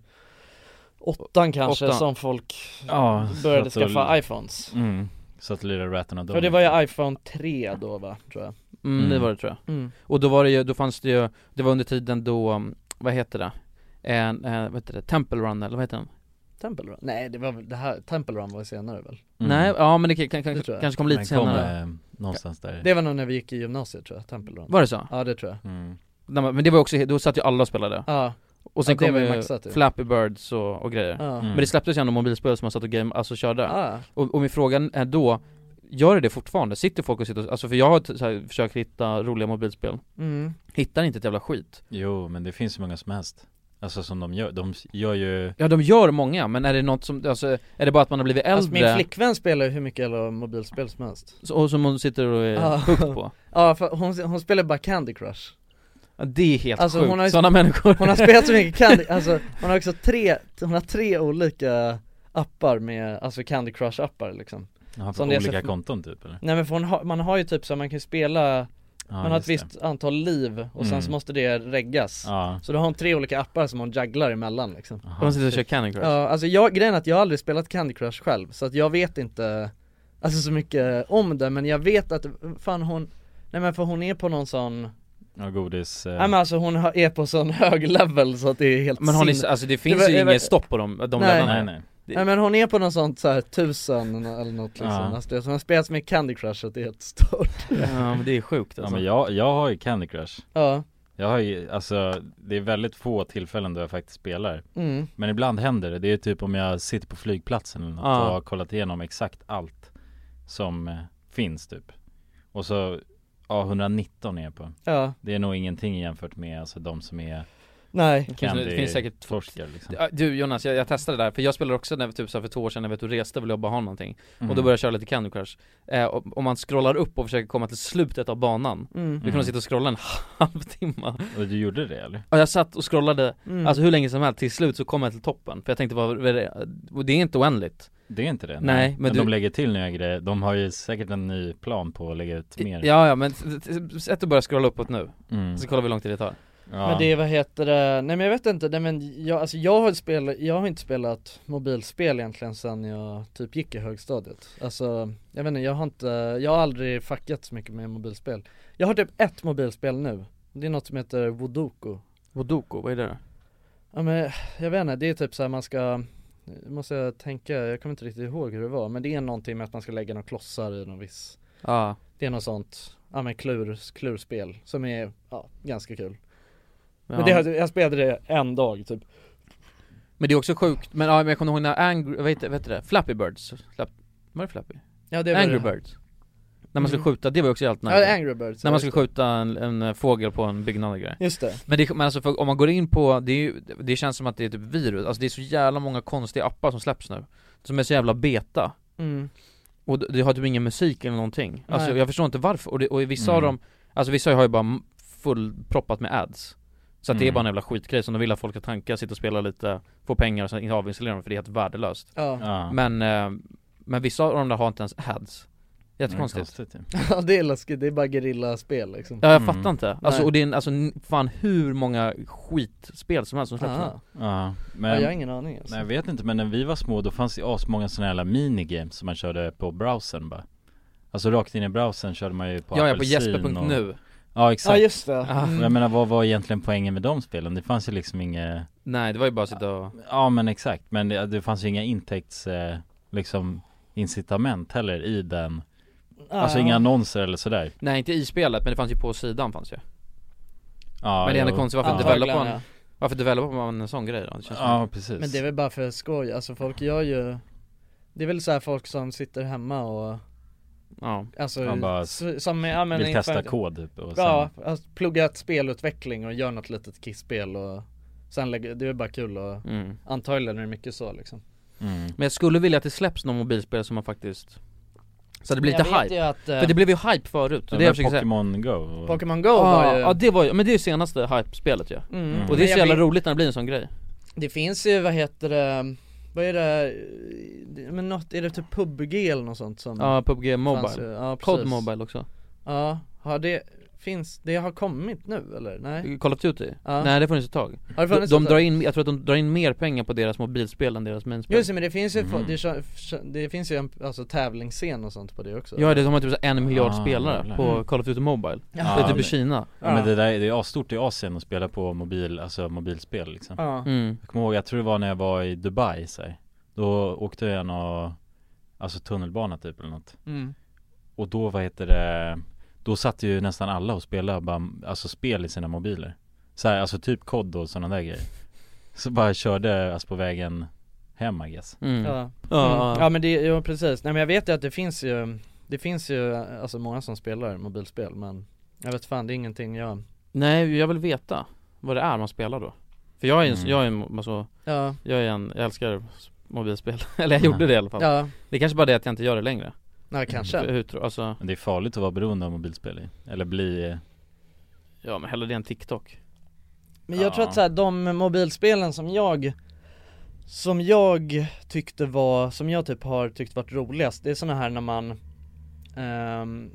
S4: åttan kanske
S1: Åttan.
S4: som folk
S3: Ja,
S4: började
S3: satt och-
S4: skaffa Iphones
S3: Mm, så att lira ratten och
S4: För det var ju iPhone 3 då va, tror jag
S1: Mm, det var det tror jag
S4: Mm.
S1: Och då var det ju, då fanns det ju, det var under tiden då, um, vad heter det? En, eh, vad heter det? Temple Run eller vad heter den?
S4: Temple Run? Nej det var väl, det här, Temple Run var ju senare väl?
S1: Nej, ja men det kan, kan,
S4: Mm. tror jag.
S1: kanske kom lite
S3: Den Mm. kom,
S1: senare
S3: eh, någonstans där.
S4: Det var nog när vi gick i gymnasiet tror jag, Temple Run
S1: Var det så?
S4: Ja det tror jag
S3: Mm.
S1: Nej, men- Men det var också, då satt ju alla och spelade
S4: Ja.
S1: Och sen
S4: Ja, det
S1: kom
S4: var ju
S1: ju
S4: maxat ju.
S1: Flappy Birds och, och grejer
S4: Ja. Mm.
S1: Men det släpptes ju ändå mobilspel som man satt och game, alltså körde
S4: Ja.
S1: och, och min fråga är då Gör det det fortfarande? Sitter folk och sitter och, alltså för jag har t- så här, försökt hitta roliga mobilspel
S4: Mm.
S1: Hittar inte ett jävla skit
S3: Jo men det finns ju många som helst Alltså som de gör, de gör ju
S1: Ja de gör många, men är det något som, alltså, är det bara att man har blivit äldre?
S4: Alltså min flickvän spelar ju hur mycket jävla mobilspel som helst
S1: Så- Och som hon sitter och är sjukt på?
S4: Ja, för hon, hon spelar bara Candy Crush
S1: Ja, Det är helt
S4: Alltså,
S1: sjukt,
S4: hon har ju-
S1: sådana människor
S4: Hon har spelat så mycket Candy, alltså hon har också tre, hon har tre olika appar med, alltså Candy Crush appar liksom
S3: Ja, på
S4: Som det är
S3: olika konton typ, eller?
S4: Nej men för hon har, man har ju typ så här, man kan ju spela Man har ett
S3: just det.
S4: visst antal liv och sen
S3: Mm.
S4: så måste det reggas
S3: Ja.
S4: Så då har hon tre olika appar som hon jugglar emellan liksom
S1: Hon sitter och kör Candy Crush.
S4: Ja, alltså jag, grejen är att jag har aldrig spelat Candy Crush själv så att jag vet inte Alltså så mycket om det men jag vet att, fan hon Nej men för hon är på någon sån
S3: Ja, godis eh.
S4: Nej men alltså hon har- är på sån hög level så att det är helt
S1: Men har ni,
S4: sinne-
S1: alltså det finns
S4: var-
S1: ju
S4: det var-
S1: inget stopp på dem, de
S3: eh,
S4: nej.
S1: ledarna.
S4: nej nej Nej men hon är på någon sånt såhär tusen eller något liksom,
S3: Ja.
S4: alltså, det- så hon har spelat så mycket Candy Crush så att det är helt stört
S1: Ja men det är sjukt
S3: Ja
S1: alltså.
S3: men jag, jag har ju Candy Crush
S4: Ja.
S3: Jag har ju, alltså det är väldigt få tillfällen då jag faktiskt spelar
S4: Mm.
S3: Men ibland händer det, det är typ om jag sitter på flygplatsen eller något
S1: Ja.
S3: och har kollat igenom exakt allt som eh, finns typ Och så, ja 119 är jag på
S4: Ja.
S3: Det är nog ingenting jämfört med alltså de som är
S4: Nej.
S1: Det finns- det finns säkert-
S3: torskar liksom
S1: Ja, Du Jonas, jag, jag testade det där, för jag spelade också när, typ så här, för två år sedan när jag vet, du reste ville jag bara ha någonting
S3: Mm.
S1: Och då började jag köra lite Candy Crush eh, och, Om man scrollar upp och försöker komma till slutet av banan
S3: Mm.
S1: Då kan
S3: Mm.
S1: man sitta och scrolla en halvtimme
S3: Och du gjorde det eller?
S1: Ja jag satt och scrollade,
S3: Mm.
S1: alltså hur länge som helst, till slut så kom jag till toppen För jag tänkte bara, vad är det? och det är inte oändligt
S3: Det är inte det?
S1: Nej, men,
S3: men,
S1: du,
S3: de lägger till nya grejer, de har ju säkert en ny plan på att lägga ut mer
S1: Ja ja men t- t- sätt att börja scrolla uppåt nu
S3: Mm.
S1: Så kollar vi hur lång tid det tar
S4: Men det, är, vad heter det, nej men jag vet inte, nej men jag, alltså jag har spelat, jag har inte spelat mobilspel egentligen sen jag typ gick i högstadiet Alltså, jag vet inte, jag har inte, jag har aldrig fuckat så mycket med mobilspel Jag har typ ett mobilspel nu, det är något som heter Vodoku
S1: Vodoku, vad är det då?
S4: Ja men jag vet inte, det är typ såhär man ska nu Måste jag tänka, jag kommer inte riktigt ihåg hur det var men det är någonting med att man ska lägga några klossar i någon viss
S1: Ja.
S4: Det är något sånt, ja men klur, klurspel som är, ja, ganska kul
S1: Ja.
S4: Men det, har- jag spelade det en dag typ
S1: Men det är också sjukt, men ja, men jag kommer ihåg när Angry, vad heter, vad heter det? Flappy Birds? Flapp, var det Flappy?
S4: Ja, det var
S1: Angry
S4: det.
S1: Birds När man skulle
S4: Mm.
S1: skjuta, det var ju också helt
S4: Ja,
S1: nice.
S4: Angry Birds,
S1: När
S4: ja,
S1: man
S4: just
S1: skulle skjuta en, en eh, fågel på en byggnad och grejer
S4: Just det.
S1: Men, det, men alltså för, om man går in på, det, är ju, det känns som att det är typ virus, alltså det är så jävla många konstiga appar som släpps nu Som är så jävla beta
S4: Mm.
S1: Och det- det har typ ingen musik eller någonting Alltså
S4: Nej.
S1: jag förstår inte varför, och, det, och vissa av
S4: Mm.
S1: dem Alltså vissa har ju bara m- fullproppat med ads Så att det är
S4: Mm.
S1: bara en jävla skitgrej som de vill att folk ska tanka, sitta och spela lite Få pengar och sen avinstallera dem för det är helt värdelöst
S4: Ja. Ja.
S1: Men, eh, men vissa av dem där har inte ens ads Jättekonstigt
S3: Mm, konstigt ju.
S4: Ja det är läskigt, det är bara gerillaspel liksom
S1: Ja jag fattar inte, alltså,
S4: Nej.
S1: och det är en, alltså n- fan hur många skitspel som helst som släpps
S4: Ah.
S1: nu.
S3: Ja, men,
S4: Ja, jag har ingen aning,
S1: Typ.
S4: alltså.
S3: Nej jag vet inte men när vi var små då fanns det ju asmånga sådana här jävla minigames som man körde på browsern bara Alltså rakt in i browsern körde man ju på
S1: Ja, ja, på
S3: apelsin
S1: jesper.nu.
S3: och... Ja exakt
S1: Ja, just det.
S3: Och
S1: Mm.
S3: Jag menar vad var egentligen poängen med de spelen? Det fanns ju liksom inget
S1: Nej det var ju bara att sitta och
S3: Ja men exakt, men det, det fanns ju inga intäkts eh, liksom incitament heller i den Alltså
S1: Ah.
S3: inga annonser eller sådär
S1: Nej inte i spelet men det fanns ju på sidan fanns ju
S3: Ja,
S1: Men det är ändå
S3: jo.
S1: konstigt varför
S3: Ja.
S1: developar
S4: Antagligen,
S1: man, varför developar man en sån grej då? Det känns
S3: Ja,
S1: som-
S3: precis.
S4: Men det är väl bara för skoj, alltså folk gör ju Det är väl så här folk som sitter hemma och
S1: Ja.
S4: Alltså,
S3: Ja, bara
S4: s- som, ja men
S3: vill testa
S4: inför-
S3: kod typ och
S4: Ja, alltså, plugga ett spelutveckling och gör något litet kisspel och Sen lägger, det är bara kul och
S1: Mm.
S4: Antagligen är det mycket så liksom
S3: Mm.
S1: Men jag skulle vilja att det släpps någon mobilspel som man faktiskt Så det blir
S4: Jag
S1: lite
S4: vet ju
S1: hype,
S4: att, eh,
S1: för det blev ju hype förut, det är
S3: Ja,
S1: det
S3: men
S1: jag försöker säga
S3: Pokémon Go och-
S4: Pokémon Go
S1: ja,
S4: var ju-
S1: Ja det var ju, men det är ju senaste hype-spelet ju
S4: Mm. Mm.
S1: Och det är
S4: Men
S1: så
S4: jag
S1: jävla
S4: vet-
S1: roligt när det blir en sån grej
S3: Mm.
S4: Det finns ju, vad heter det, vad är det, det- men något, är det typ PubG eller något sånt som
S1: Ja, PUBG
S4: fanns
S1: Mobile,
S4: ju? ja, precis.
S1: Cod Mobile också
S4: Ja, har det, finns, det har kommit nu eller? Nej?
S1: Call of Duty?
S4: Ja.
S1: Mm. Nej det har funnits ett tag
S4: Har det
S1: de,
S4: funnits
S1: de
S4: ett tag?
S1: drar in, jag tror att de drar in mer pengar på deras mobilspel än deras mainspel
S4: Just det, men det finns ju,
S1: Mm.
S4: fo- det, kö- kö- det finns ju en alltså, tävlingsscen och sånt på det också
S1: Ja det, de har typ så här en miljard
S3: Ah,
S1: spelare
S3: jävlar. Ah,
S1: på
S3: Mm.
S1: Call of Duty Mobile
S3: Ja.
S1: Det är typ i
S3: men-
S1: Kina
S3: ja. men det där, det är stort i Asien att spela på mobil, alltså mobilspel liksom
S1: Ja. Mm.
S3: Jag kommer ihåg, jag tror det var när jag var i Dubai så här. Då åkte jag någon, alltså tunnelbana typ eller något
S1: Mm.
S3: Och då, vad heter det, då satt ju nästan alla och spelade bara, alltså spel i sina mobiler så här, alltså typ kod och sådana där grejer Så bara körde, alltså på vägen hem I guess
S1: Mm.
S4: Ja.
S1: Ja.
S4: Mm. ja men det, ja precis, nej men jag vet ju att det finns ju Det finns ju alltså många som spelar mobilspel men Jag vet fan det är ingenting jag
S1: Nej jag vill veta vad det är man spelar då För jag är en,
S3: Mm.
S1: jag är en, alltså,
S4: Ja.
S1: jag är en, jag älskar mobilspel, eller jag
S3: Mm.
S1: gjorde det i alla fall
S4: Ja.
S1: Det är kanske bara det att jag inte gör det längre
S4: Ja, kanske.
S1: För hur tro- alltså,
S3: Men det är farligt att vara beroende av mobilspel i. Eller bli...
S1: Ja men hellre det än TikTok
S4: Men jag tror att så här, de mobilspelen som jag Som jag tyckte var, som jag typ har tyckt varit roligast Det är såna här när man ehm,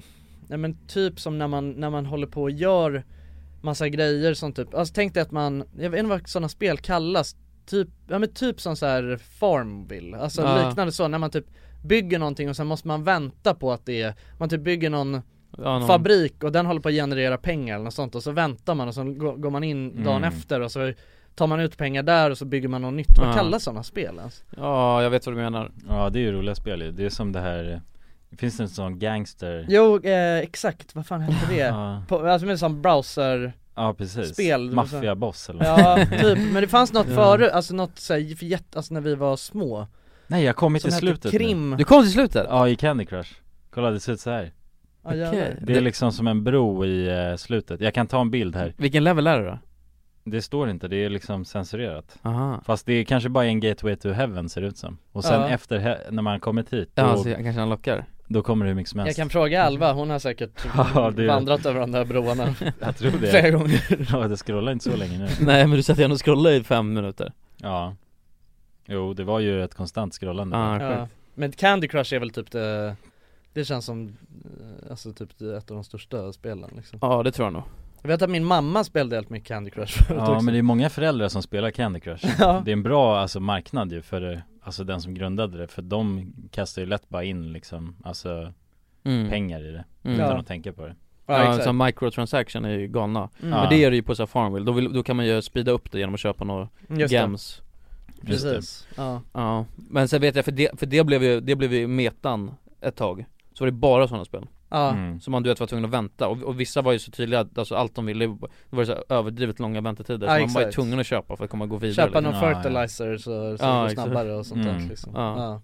S4: Nej men typ som när man, när man håller på och gör Massa grejer som typ, alltså tänk dig att man, jag vet inte vad sådana spel kallas Typ, ja men typ som så här Farmville, alltså
S1: Ja.
S4: liknande så när man typ bygger någonting och sen måste man vänta på att det är, man typ bygger någon
S1: Ja, någon-
S4: fabrik och den håller på att generera pengar eller något sånt och så väntar man och så går går man in dagen
S1: Mm.
S4: efter och så tar man ut pengar där och så bygger man något nytt. Vad
S3: Ja.
S4: kallas sådana spel ens?
S1: Ja, jag vet vad du menar
S3: Ja, det är ju roliga spel ju. Det är som det här... Det finns en sån gangster...
S4: Jo, eh, exakt, vad fan hette det?
S3: Ja.
S4: På, alltså med sån browser
S3: Ja, precis.
S4: Spel
S3: Maffiaboss eller något.
S4: Ja, typ, men det fanns något
S3: Ja.
S4: förut, alltså något såhär, för jätte, alltså när vi var små
S3: Nej, jag kom
S4: Som
S3: till
S4: hette
S3: slutet
S4: Krim.
S3: nu.
S4: Du kom
S1: till slutet?
S3: Ja, i Candy Crush. Kolla, det ser ut så här.
S4: Ja, jävlar. Okej.
S3: Det är liksom som en bro i eh, slutet. Jag kan ta en bild här.
S1: Vilken level är det då?
S3: Det står inte, det är liksom censurerat.
S1: Aha.
S3: Fast det är kanske bara en gateway to heaven ser det ut som. Och sen
S4: Ja.
S3: efter, he- när man kommit hit, då,
S1: Ja, så jag kanske han lockar
S3: då kommer det hur mycket som
S4: Jag
S3: helst.
S4: kan fråga Alva, hon har säkert
S3: Ja, det-
S4: vandrat över de där broarna
S3: Jag tror det.
S4: flera gånger
S3: Ja, det scrollar inte så länge nu.
S1: Nej men du satt ju ändå och scrollade i fem minuter
S3: Ja. Jo, det var ju ett konstant scrollande.
S1: Ah,
S4: Ja. Men Candy Crush är väl typ det, det känns som eh, alltså typ det- ett av de största spelen liksom
S1: Ja det tror jag nog
S4: Jag vet att min mamma spelade helt mycket Candy Crush förut
S3: Ja
S4: också
S3: men det är många föräldrar som spelar Candy Crush
S4: Ja.
S3: Det är en bra alltså, marknad ju för eh, alltså, den som grundade det För de kastar ju lätt bara in liksom, alltså
S1: Mm.
S3: pengar i det
S1: Mm.
S3: Utan
S1: Ja.
S3: att tänka på det
S1: Ja, så microtransaction är ju galna
S3: Mm.
S1: Men
S3: Ja.
S1: det är det ju på så här Farmville, då, vill, då kan man ju sprida upp det genom att köpa några
S4: Just det.
S1: gems
S4: Just det. Precis. Ja.
S1: Ja, men sen vet jag för det, för det blev ju, det blev ju metan ett tag Så var det bara sådana spel
S4: Ja. Mm.
S1: Som man du vet var tvungen att vänta, och, och vissa var ju så tydliga att alltså, allt de ville, det var så här överdrivet långa väntetider
S4: Ja,
S1: Så man var ju
S4: exakt.
S1: tvungen att köpa för att komma gå vidare
S4: Köpa någon
S1: liksom.
S4: fertilizer så, så det går
S1: exakt.
S4: snabbare och sånt där liksom
S1: ja.
S4: Ja.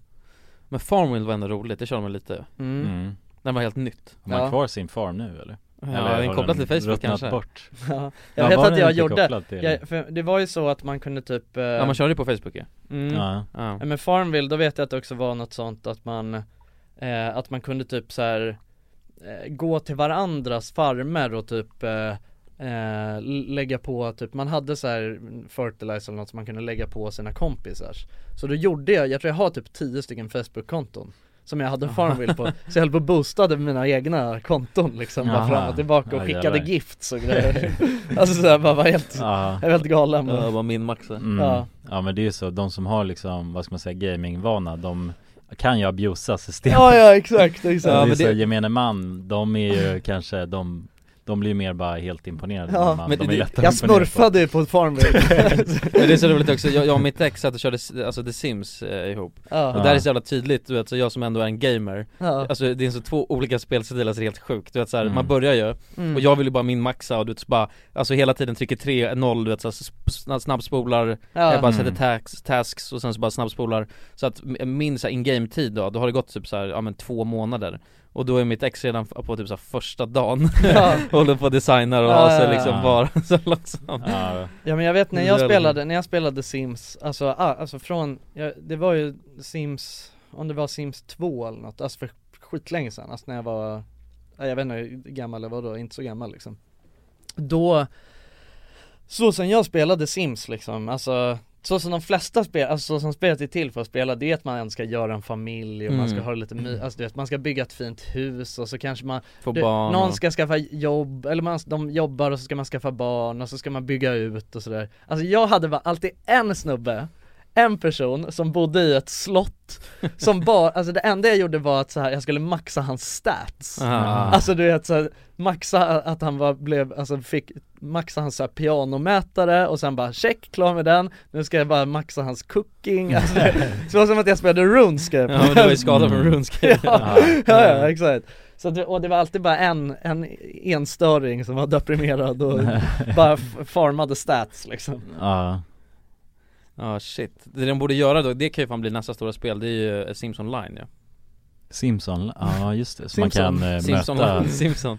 S1: Men Farmville var ändå roligt, det körde man lite
S4: Mm. Mm.
S1: Den var helt nytt
S3: Har man kvar sin farm nu eller?
S1: Ja,
S3: eller
S1: den är
S3: har
S1: kopplad till Facebook
S3: ruttnat
S1: kanske.
S3: bort?
S4: Ja.
S3: Ja,
S4: Jag vet
S3: var
S4: att
S3: den
S4: jag
S3: inte
S4: gjorde,
S3: kopplad till-
S4: jag, för det var ju så att man kunde typ eh,
S1: Ja man körde ju på Facebook ju
S4: Mm.
S1: ja.
S4: Ja. Men Farmville, då vet jag att det också var något sånt att man eh, Att man kunde typ så här eh, Gå till varandras farmer och typ eh, eh, l- Lägga på typ, man hade så här fertilizer eller något som man kunde lägga på sina kompisars Så då gjorde jag, jag tror jag har typ 10 stycken Facebook-konton Som jag hade Farmville på, så jag höll på och boostade mina egna konton liksom bara
S1: Jaha.
S4: fram och tillbaka och
S1: Ja,
S4: skickade
S1: jävlar.
S4: gifts och grejer Alltså såhär bara var helt,
S3: Ja.
S4: jag var helt galen
S1: Ja, bara min maxa.
S3: Mm.
S4: Ja.
S3: Ja. men det är ju så, de som har liksom, vad ska man säga, gamingvana, de kan ju abusa systemet
S4: Ja, ja, exakt, exakt.
S3: Ja,
S4: Ja,
S3: men det
S4: men
S3: är så,
S4: det-
S3: gemene man, de är ju kanske, de, de blir ju mer bara helt imponerade när man, de är lätta att
S4: jag
S3: imponera på.
S4: smurfade ju på Farmville
S1: Men det är så roligt också, jag, jag och mitt ex satt och körde alltså The Sims eh, ihop
S4: Ja.
S1: Och där är så jävla tydligt, du vet, så jag som ändå är en gamer
S4: Ja.
S1: Alltså det är så två olika spelstilar, alltså, det är helt sjukt, du vet så här,
S3: Mm.
S1: man börjar ju
S3: Mm.
S1: Och jag vill ju bara min maxa och du vet så bara Alltså hela tiden trycker 3-0, du vet så här, sp- snabbspolar,
S4: Ja.
S1: jag bara
S4: Mm.
S1: sätter tasks, tasks och sen så bara snabbspolar Så att m- min så här, in-game tid då, då har det gått typ så här, ja men två månader och då är mitt ex redan f- på typ så här första dagen,
S4: Ja.
S1: håller på och designar och
S4: Ja,
S1: har sig
S4: ja, ja.
S1: liksom
S4: Ja.
S1: bara så långsamt
S4: Ja men jag vet när jag
S1: Jävlar.
S4: spelade, när jag spelade Sims, alltså, ah, alltså från, jag, det var ju Sims, om det var Sims 2 eller något, alltså för skitlänge sedan, alltså när jag var, ja, jag vet inte hur gammal jag var då, inte så gammal liksom Då, så som jag spelade Sims liksom, alltså så som de flesta spel, alltså så som spelet är till för att spela det är att man ska göra en familj och man ska
S1: Mm.
S4: ha lite my- alltså du vet, man ska bygga ett fint hus och så kanske man
S1: Få
S4: du,
S1: barn
S4: Någon
S1: och-
S4: ska skaffa jobb, eller man, de jobbar och så ska man skaffa barn och så ska man bygga ut och sådär Alltså jag hade bara alltid en snubbe, en person som bodde i ett slott Som bara, alltså det enda jag gjorde var att så här, jag skulle maxa hans stats
S1: Ah.
S4: Alltså du vet såhär, maxa att han var, blev, alltså fick Maxa hans så här pianomätare och sen bara check, klar med den Nu ska jag bara maxa hans cooking alltså, det- Så det var som att jag spelade RuneScape
S1: Ja, men du var ju skadad
S3: Mm.
S1: från RuneScape.
S4: ja,
S1: Ja.
S4: ja, ja, exakt så att, det- och det var alltid bara en, en enstöring som var deprimerad och bara f- farmade stats liksom
S3: Ja
S1: Ja shit, det de borde göra då, det kan ju fan bli nästa stora spel, det är ju eh, Sims online ja
S3: Simson, ja just det, så man
S1: Simpson.
S3: kan eh,
S1: Simpson.
S3: möta
S1: Simpson.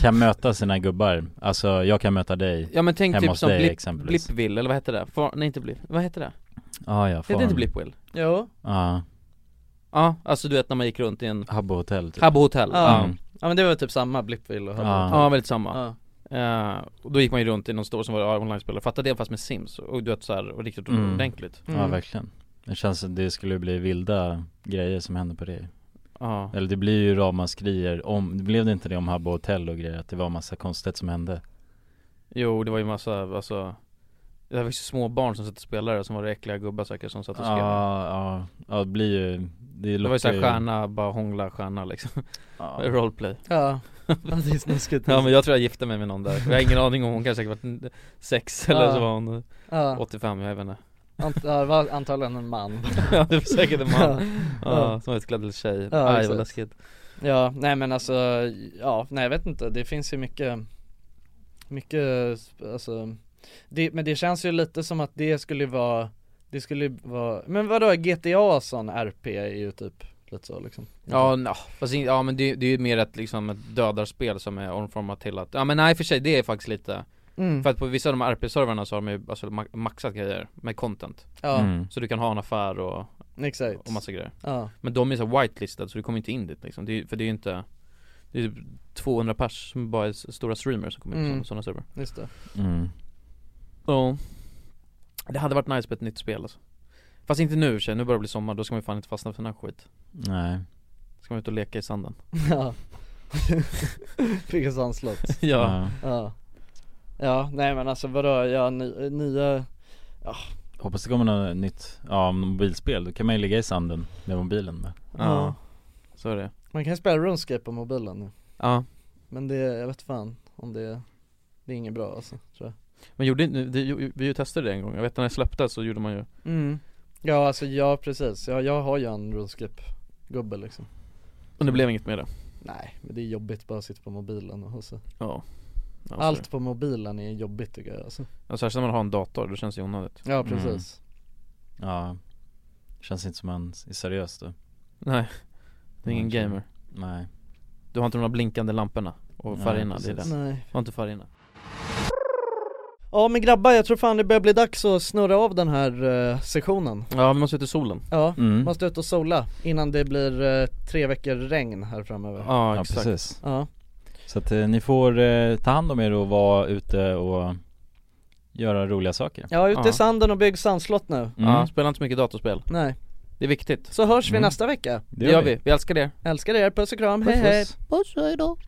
S3: Kan möta sina gubbar, alltså jag kan möta dig
S1: Ja men tänk
S3: hemma
S1: typ
S3: hos
S1: som
S3: dig
S1: Blip,
S3: exempelvis
S1: Blipville, eller vad heter det? Far, nej inte Blip, vad heter det?
S3: ah, ja,
S1: Heter det inte Blipwill?
S4: Jo
S3: Ja,
S1: Ja, alltså du vet när man gick runt i en
S3: Habbo hotell typ.
S1: Habbo hotell,
S4: Ja,
S1: ja
S4: ja men det var typ samma, Blippville och
S1: Ja,
S4: Hubble.
S1: väldigt samma Eh, och då gick man ju runt i någon store som var online-spelare, fatta det fast med Sims och du vet såhär, och riktigt
S3: Mm.
S1: ordentligt
S3: Ja verkligen Det känns som det skulle bli vilda grejer som händer på det
S1: Ja.
S3: Eller det blir ju ramaskrier om, blev det inte det om Habbo hotell och grejer? Att det var massa konstigt som hände?
S1: Jo, det var ju massa, alltså Det var ju små barn som satt och spelade som var äckliga gubbar säkert som satt och skrev
S3: Ja, ja, ja det blir ju Det,
S1: Det var ju
S3: lockar
S1: såhär stjärna, bara hångla stjärna liksom Roleplay
S4: Ja, Ja, det är snuskigt
S1: Ja men jag tror jag gifte mig med någon där, jag har ingen aning om hon kanske säkert var sex eller
S4: Ja.
S1: så var hon
S4: Ja.
S1: 85, jag vet inte
S4: Ant- ja, det var antagligen en man
S1: Ja det var säkert en man,
S4: Ja.
S1: ja, som var utklädd till tjej,
S4: Ja,
S1: aj
S4: exakt.
S1: vad läskigt
S4: Ja, nej men alltså, ja, nej jag vet inte, det finns ju mycket Mycket, alltså det, Men det känns ju lite som att det skulle vara Det skulle vara, men vadå GTA sån RP är ju typ lite så liksom
S1: Ja, no. Fast, in- ja men det, det är ju mer ett liksom ett dödarspel som är omformat till att, ja men nej för sig det är faktiskt lite
S4: Mm.
S1: För att på vissa av de här RP-servrarna så har de ju alltså ma- maxat grejer med content
S4: Ja. Mm.
S1: Så du kan ha en affär och,
S4: Exakt.
S1: och massa grejer
S4: Ja.
S1: Men de är så whitelistade så du kommer inte in dit liksom, det är, ju- för det är ju inte Det är ju 200 pers som bara är s- stora streamers som kommer in
S4: Mm.
S1: på sådana servrar
S4: Just det
S3: Mm.
S1: Ja Det hade varit nice med ett nytt spel alltså. Fast inte nu i och för sig, nu börjar det bli sommar, då ska man ju fan inte fastna för den här skit
S3: Nej
S1: Ska man ut och leka i sanden
S4: Ja Fick ett sandslott
S1: Ja.
S4: ja Ja, nej men alltså vadå, ja ny, nya, ja
S3: Hoppas det kommer något nytt, ja om mobilspel, då kan man ju ligga i sanden med mobilen med
S4: Ja.
S1: Så är det
S4: Man kan spela RuneScape på mobilen nu
S1: Ja.
S4: Men det, jag vet fan om det, det är inget bra alltså, tror jag
S1: Men gjorde inte, det, ju- vi ju testade det en gång, jag vet när det släpptes så gjorde man ju
S4: Mm. Ja alltså ja precis, ja, jag har ju en RuneScape gubbe liksom
S1: Men det blev inget med det
S4: Nej men det är jobbigt bara att sitta på mobilen och så
S1: Ja, Ja, så är
S4: Allt på mobilen är jobbigt tycker jag alltså
S1: det. Ja, särskilt när man har en dator, då känns det ju onödigt
S4: Ja precis
S3: Ja Känns inte som man är seriös då
S1: Nej, det är ingen
S3: Okej.
S1: gamer
S3: Nej
S1: Du har inte de där blinkande lamporna och
S3: Nej,
S1: färgerna, det är
S3: precis.
S1: det
S4: Nej.
S1: Du har inte färgerna
S4: Ja men grabbar jag tror fan det börjar bli dags att snurra av den här eh, sessionen
S1: Ja vi måste ut i solen
S4: Ja,
S1: Mm.
S4: måste ut och sola innan det blir eh, tre veckor regn här framöver
S1: Ja, exakt.
S3: precis
S4: Ja.
S3: Så att eh, ni får eh, ta hand om er och vara ute och göra roliga saker
S4: Ja, ute i sanden och bygg sandslott
S3: Mm.
S4: nu
S1: Ja, spela inte så mycket datorspel
S4: Nej
S1: Mm. Det är viktigt
S4: Så hörs vi
S1: Mm.
S4: nästa vecka
S1: Det gör vi, vi älskar er
S4: Älskar er, puss och kram,
S1: Puss,
S4: hej hej
S1: puss.
S4: Puss, hejdå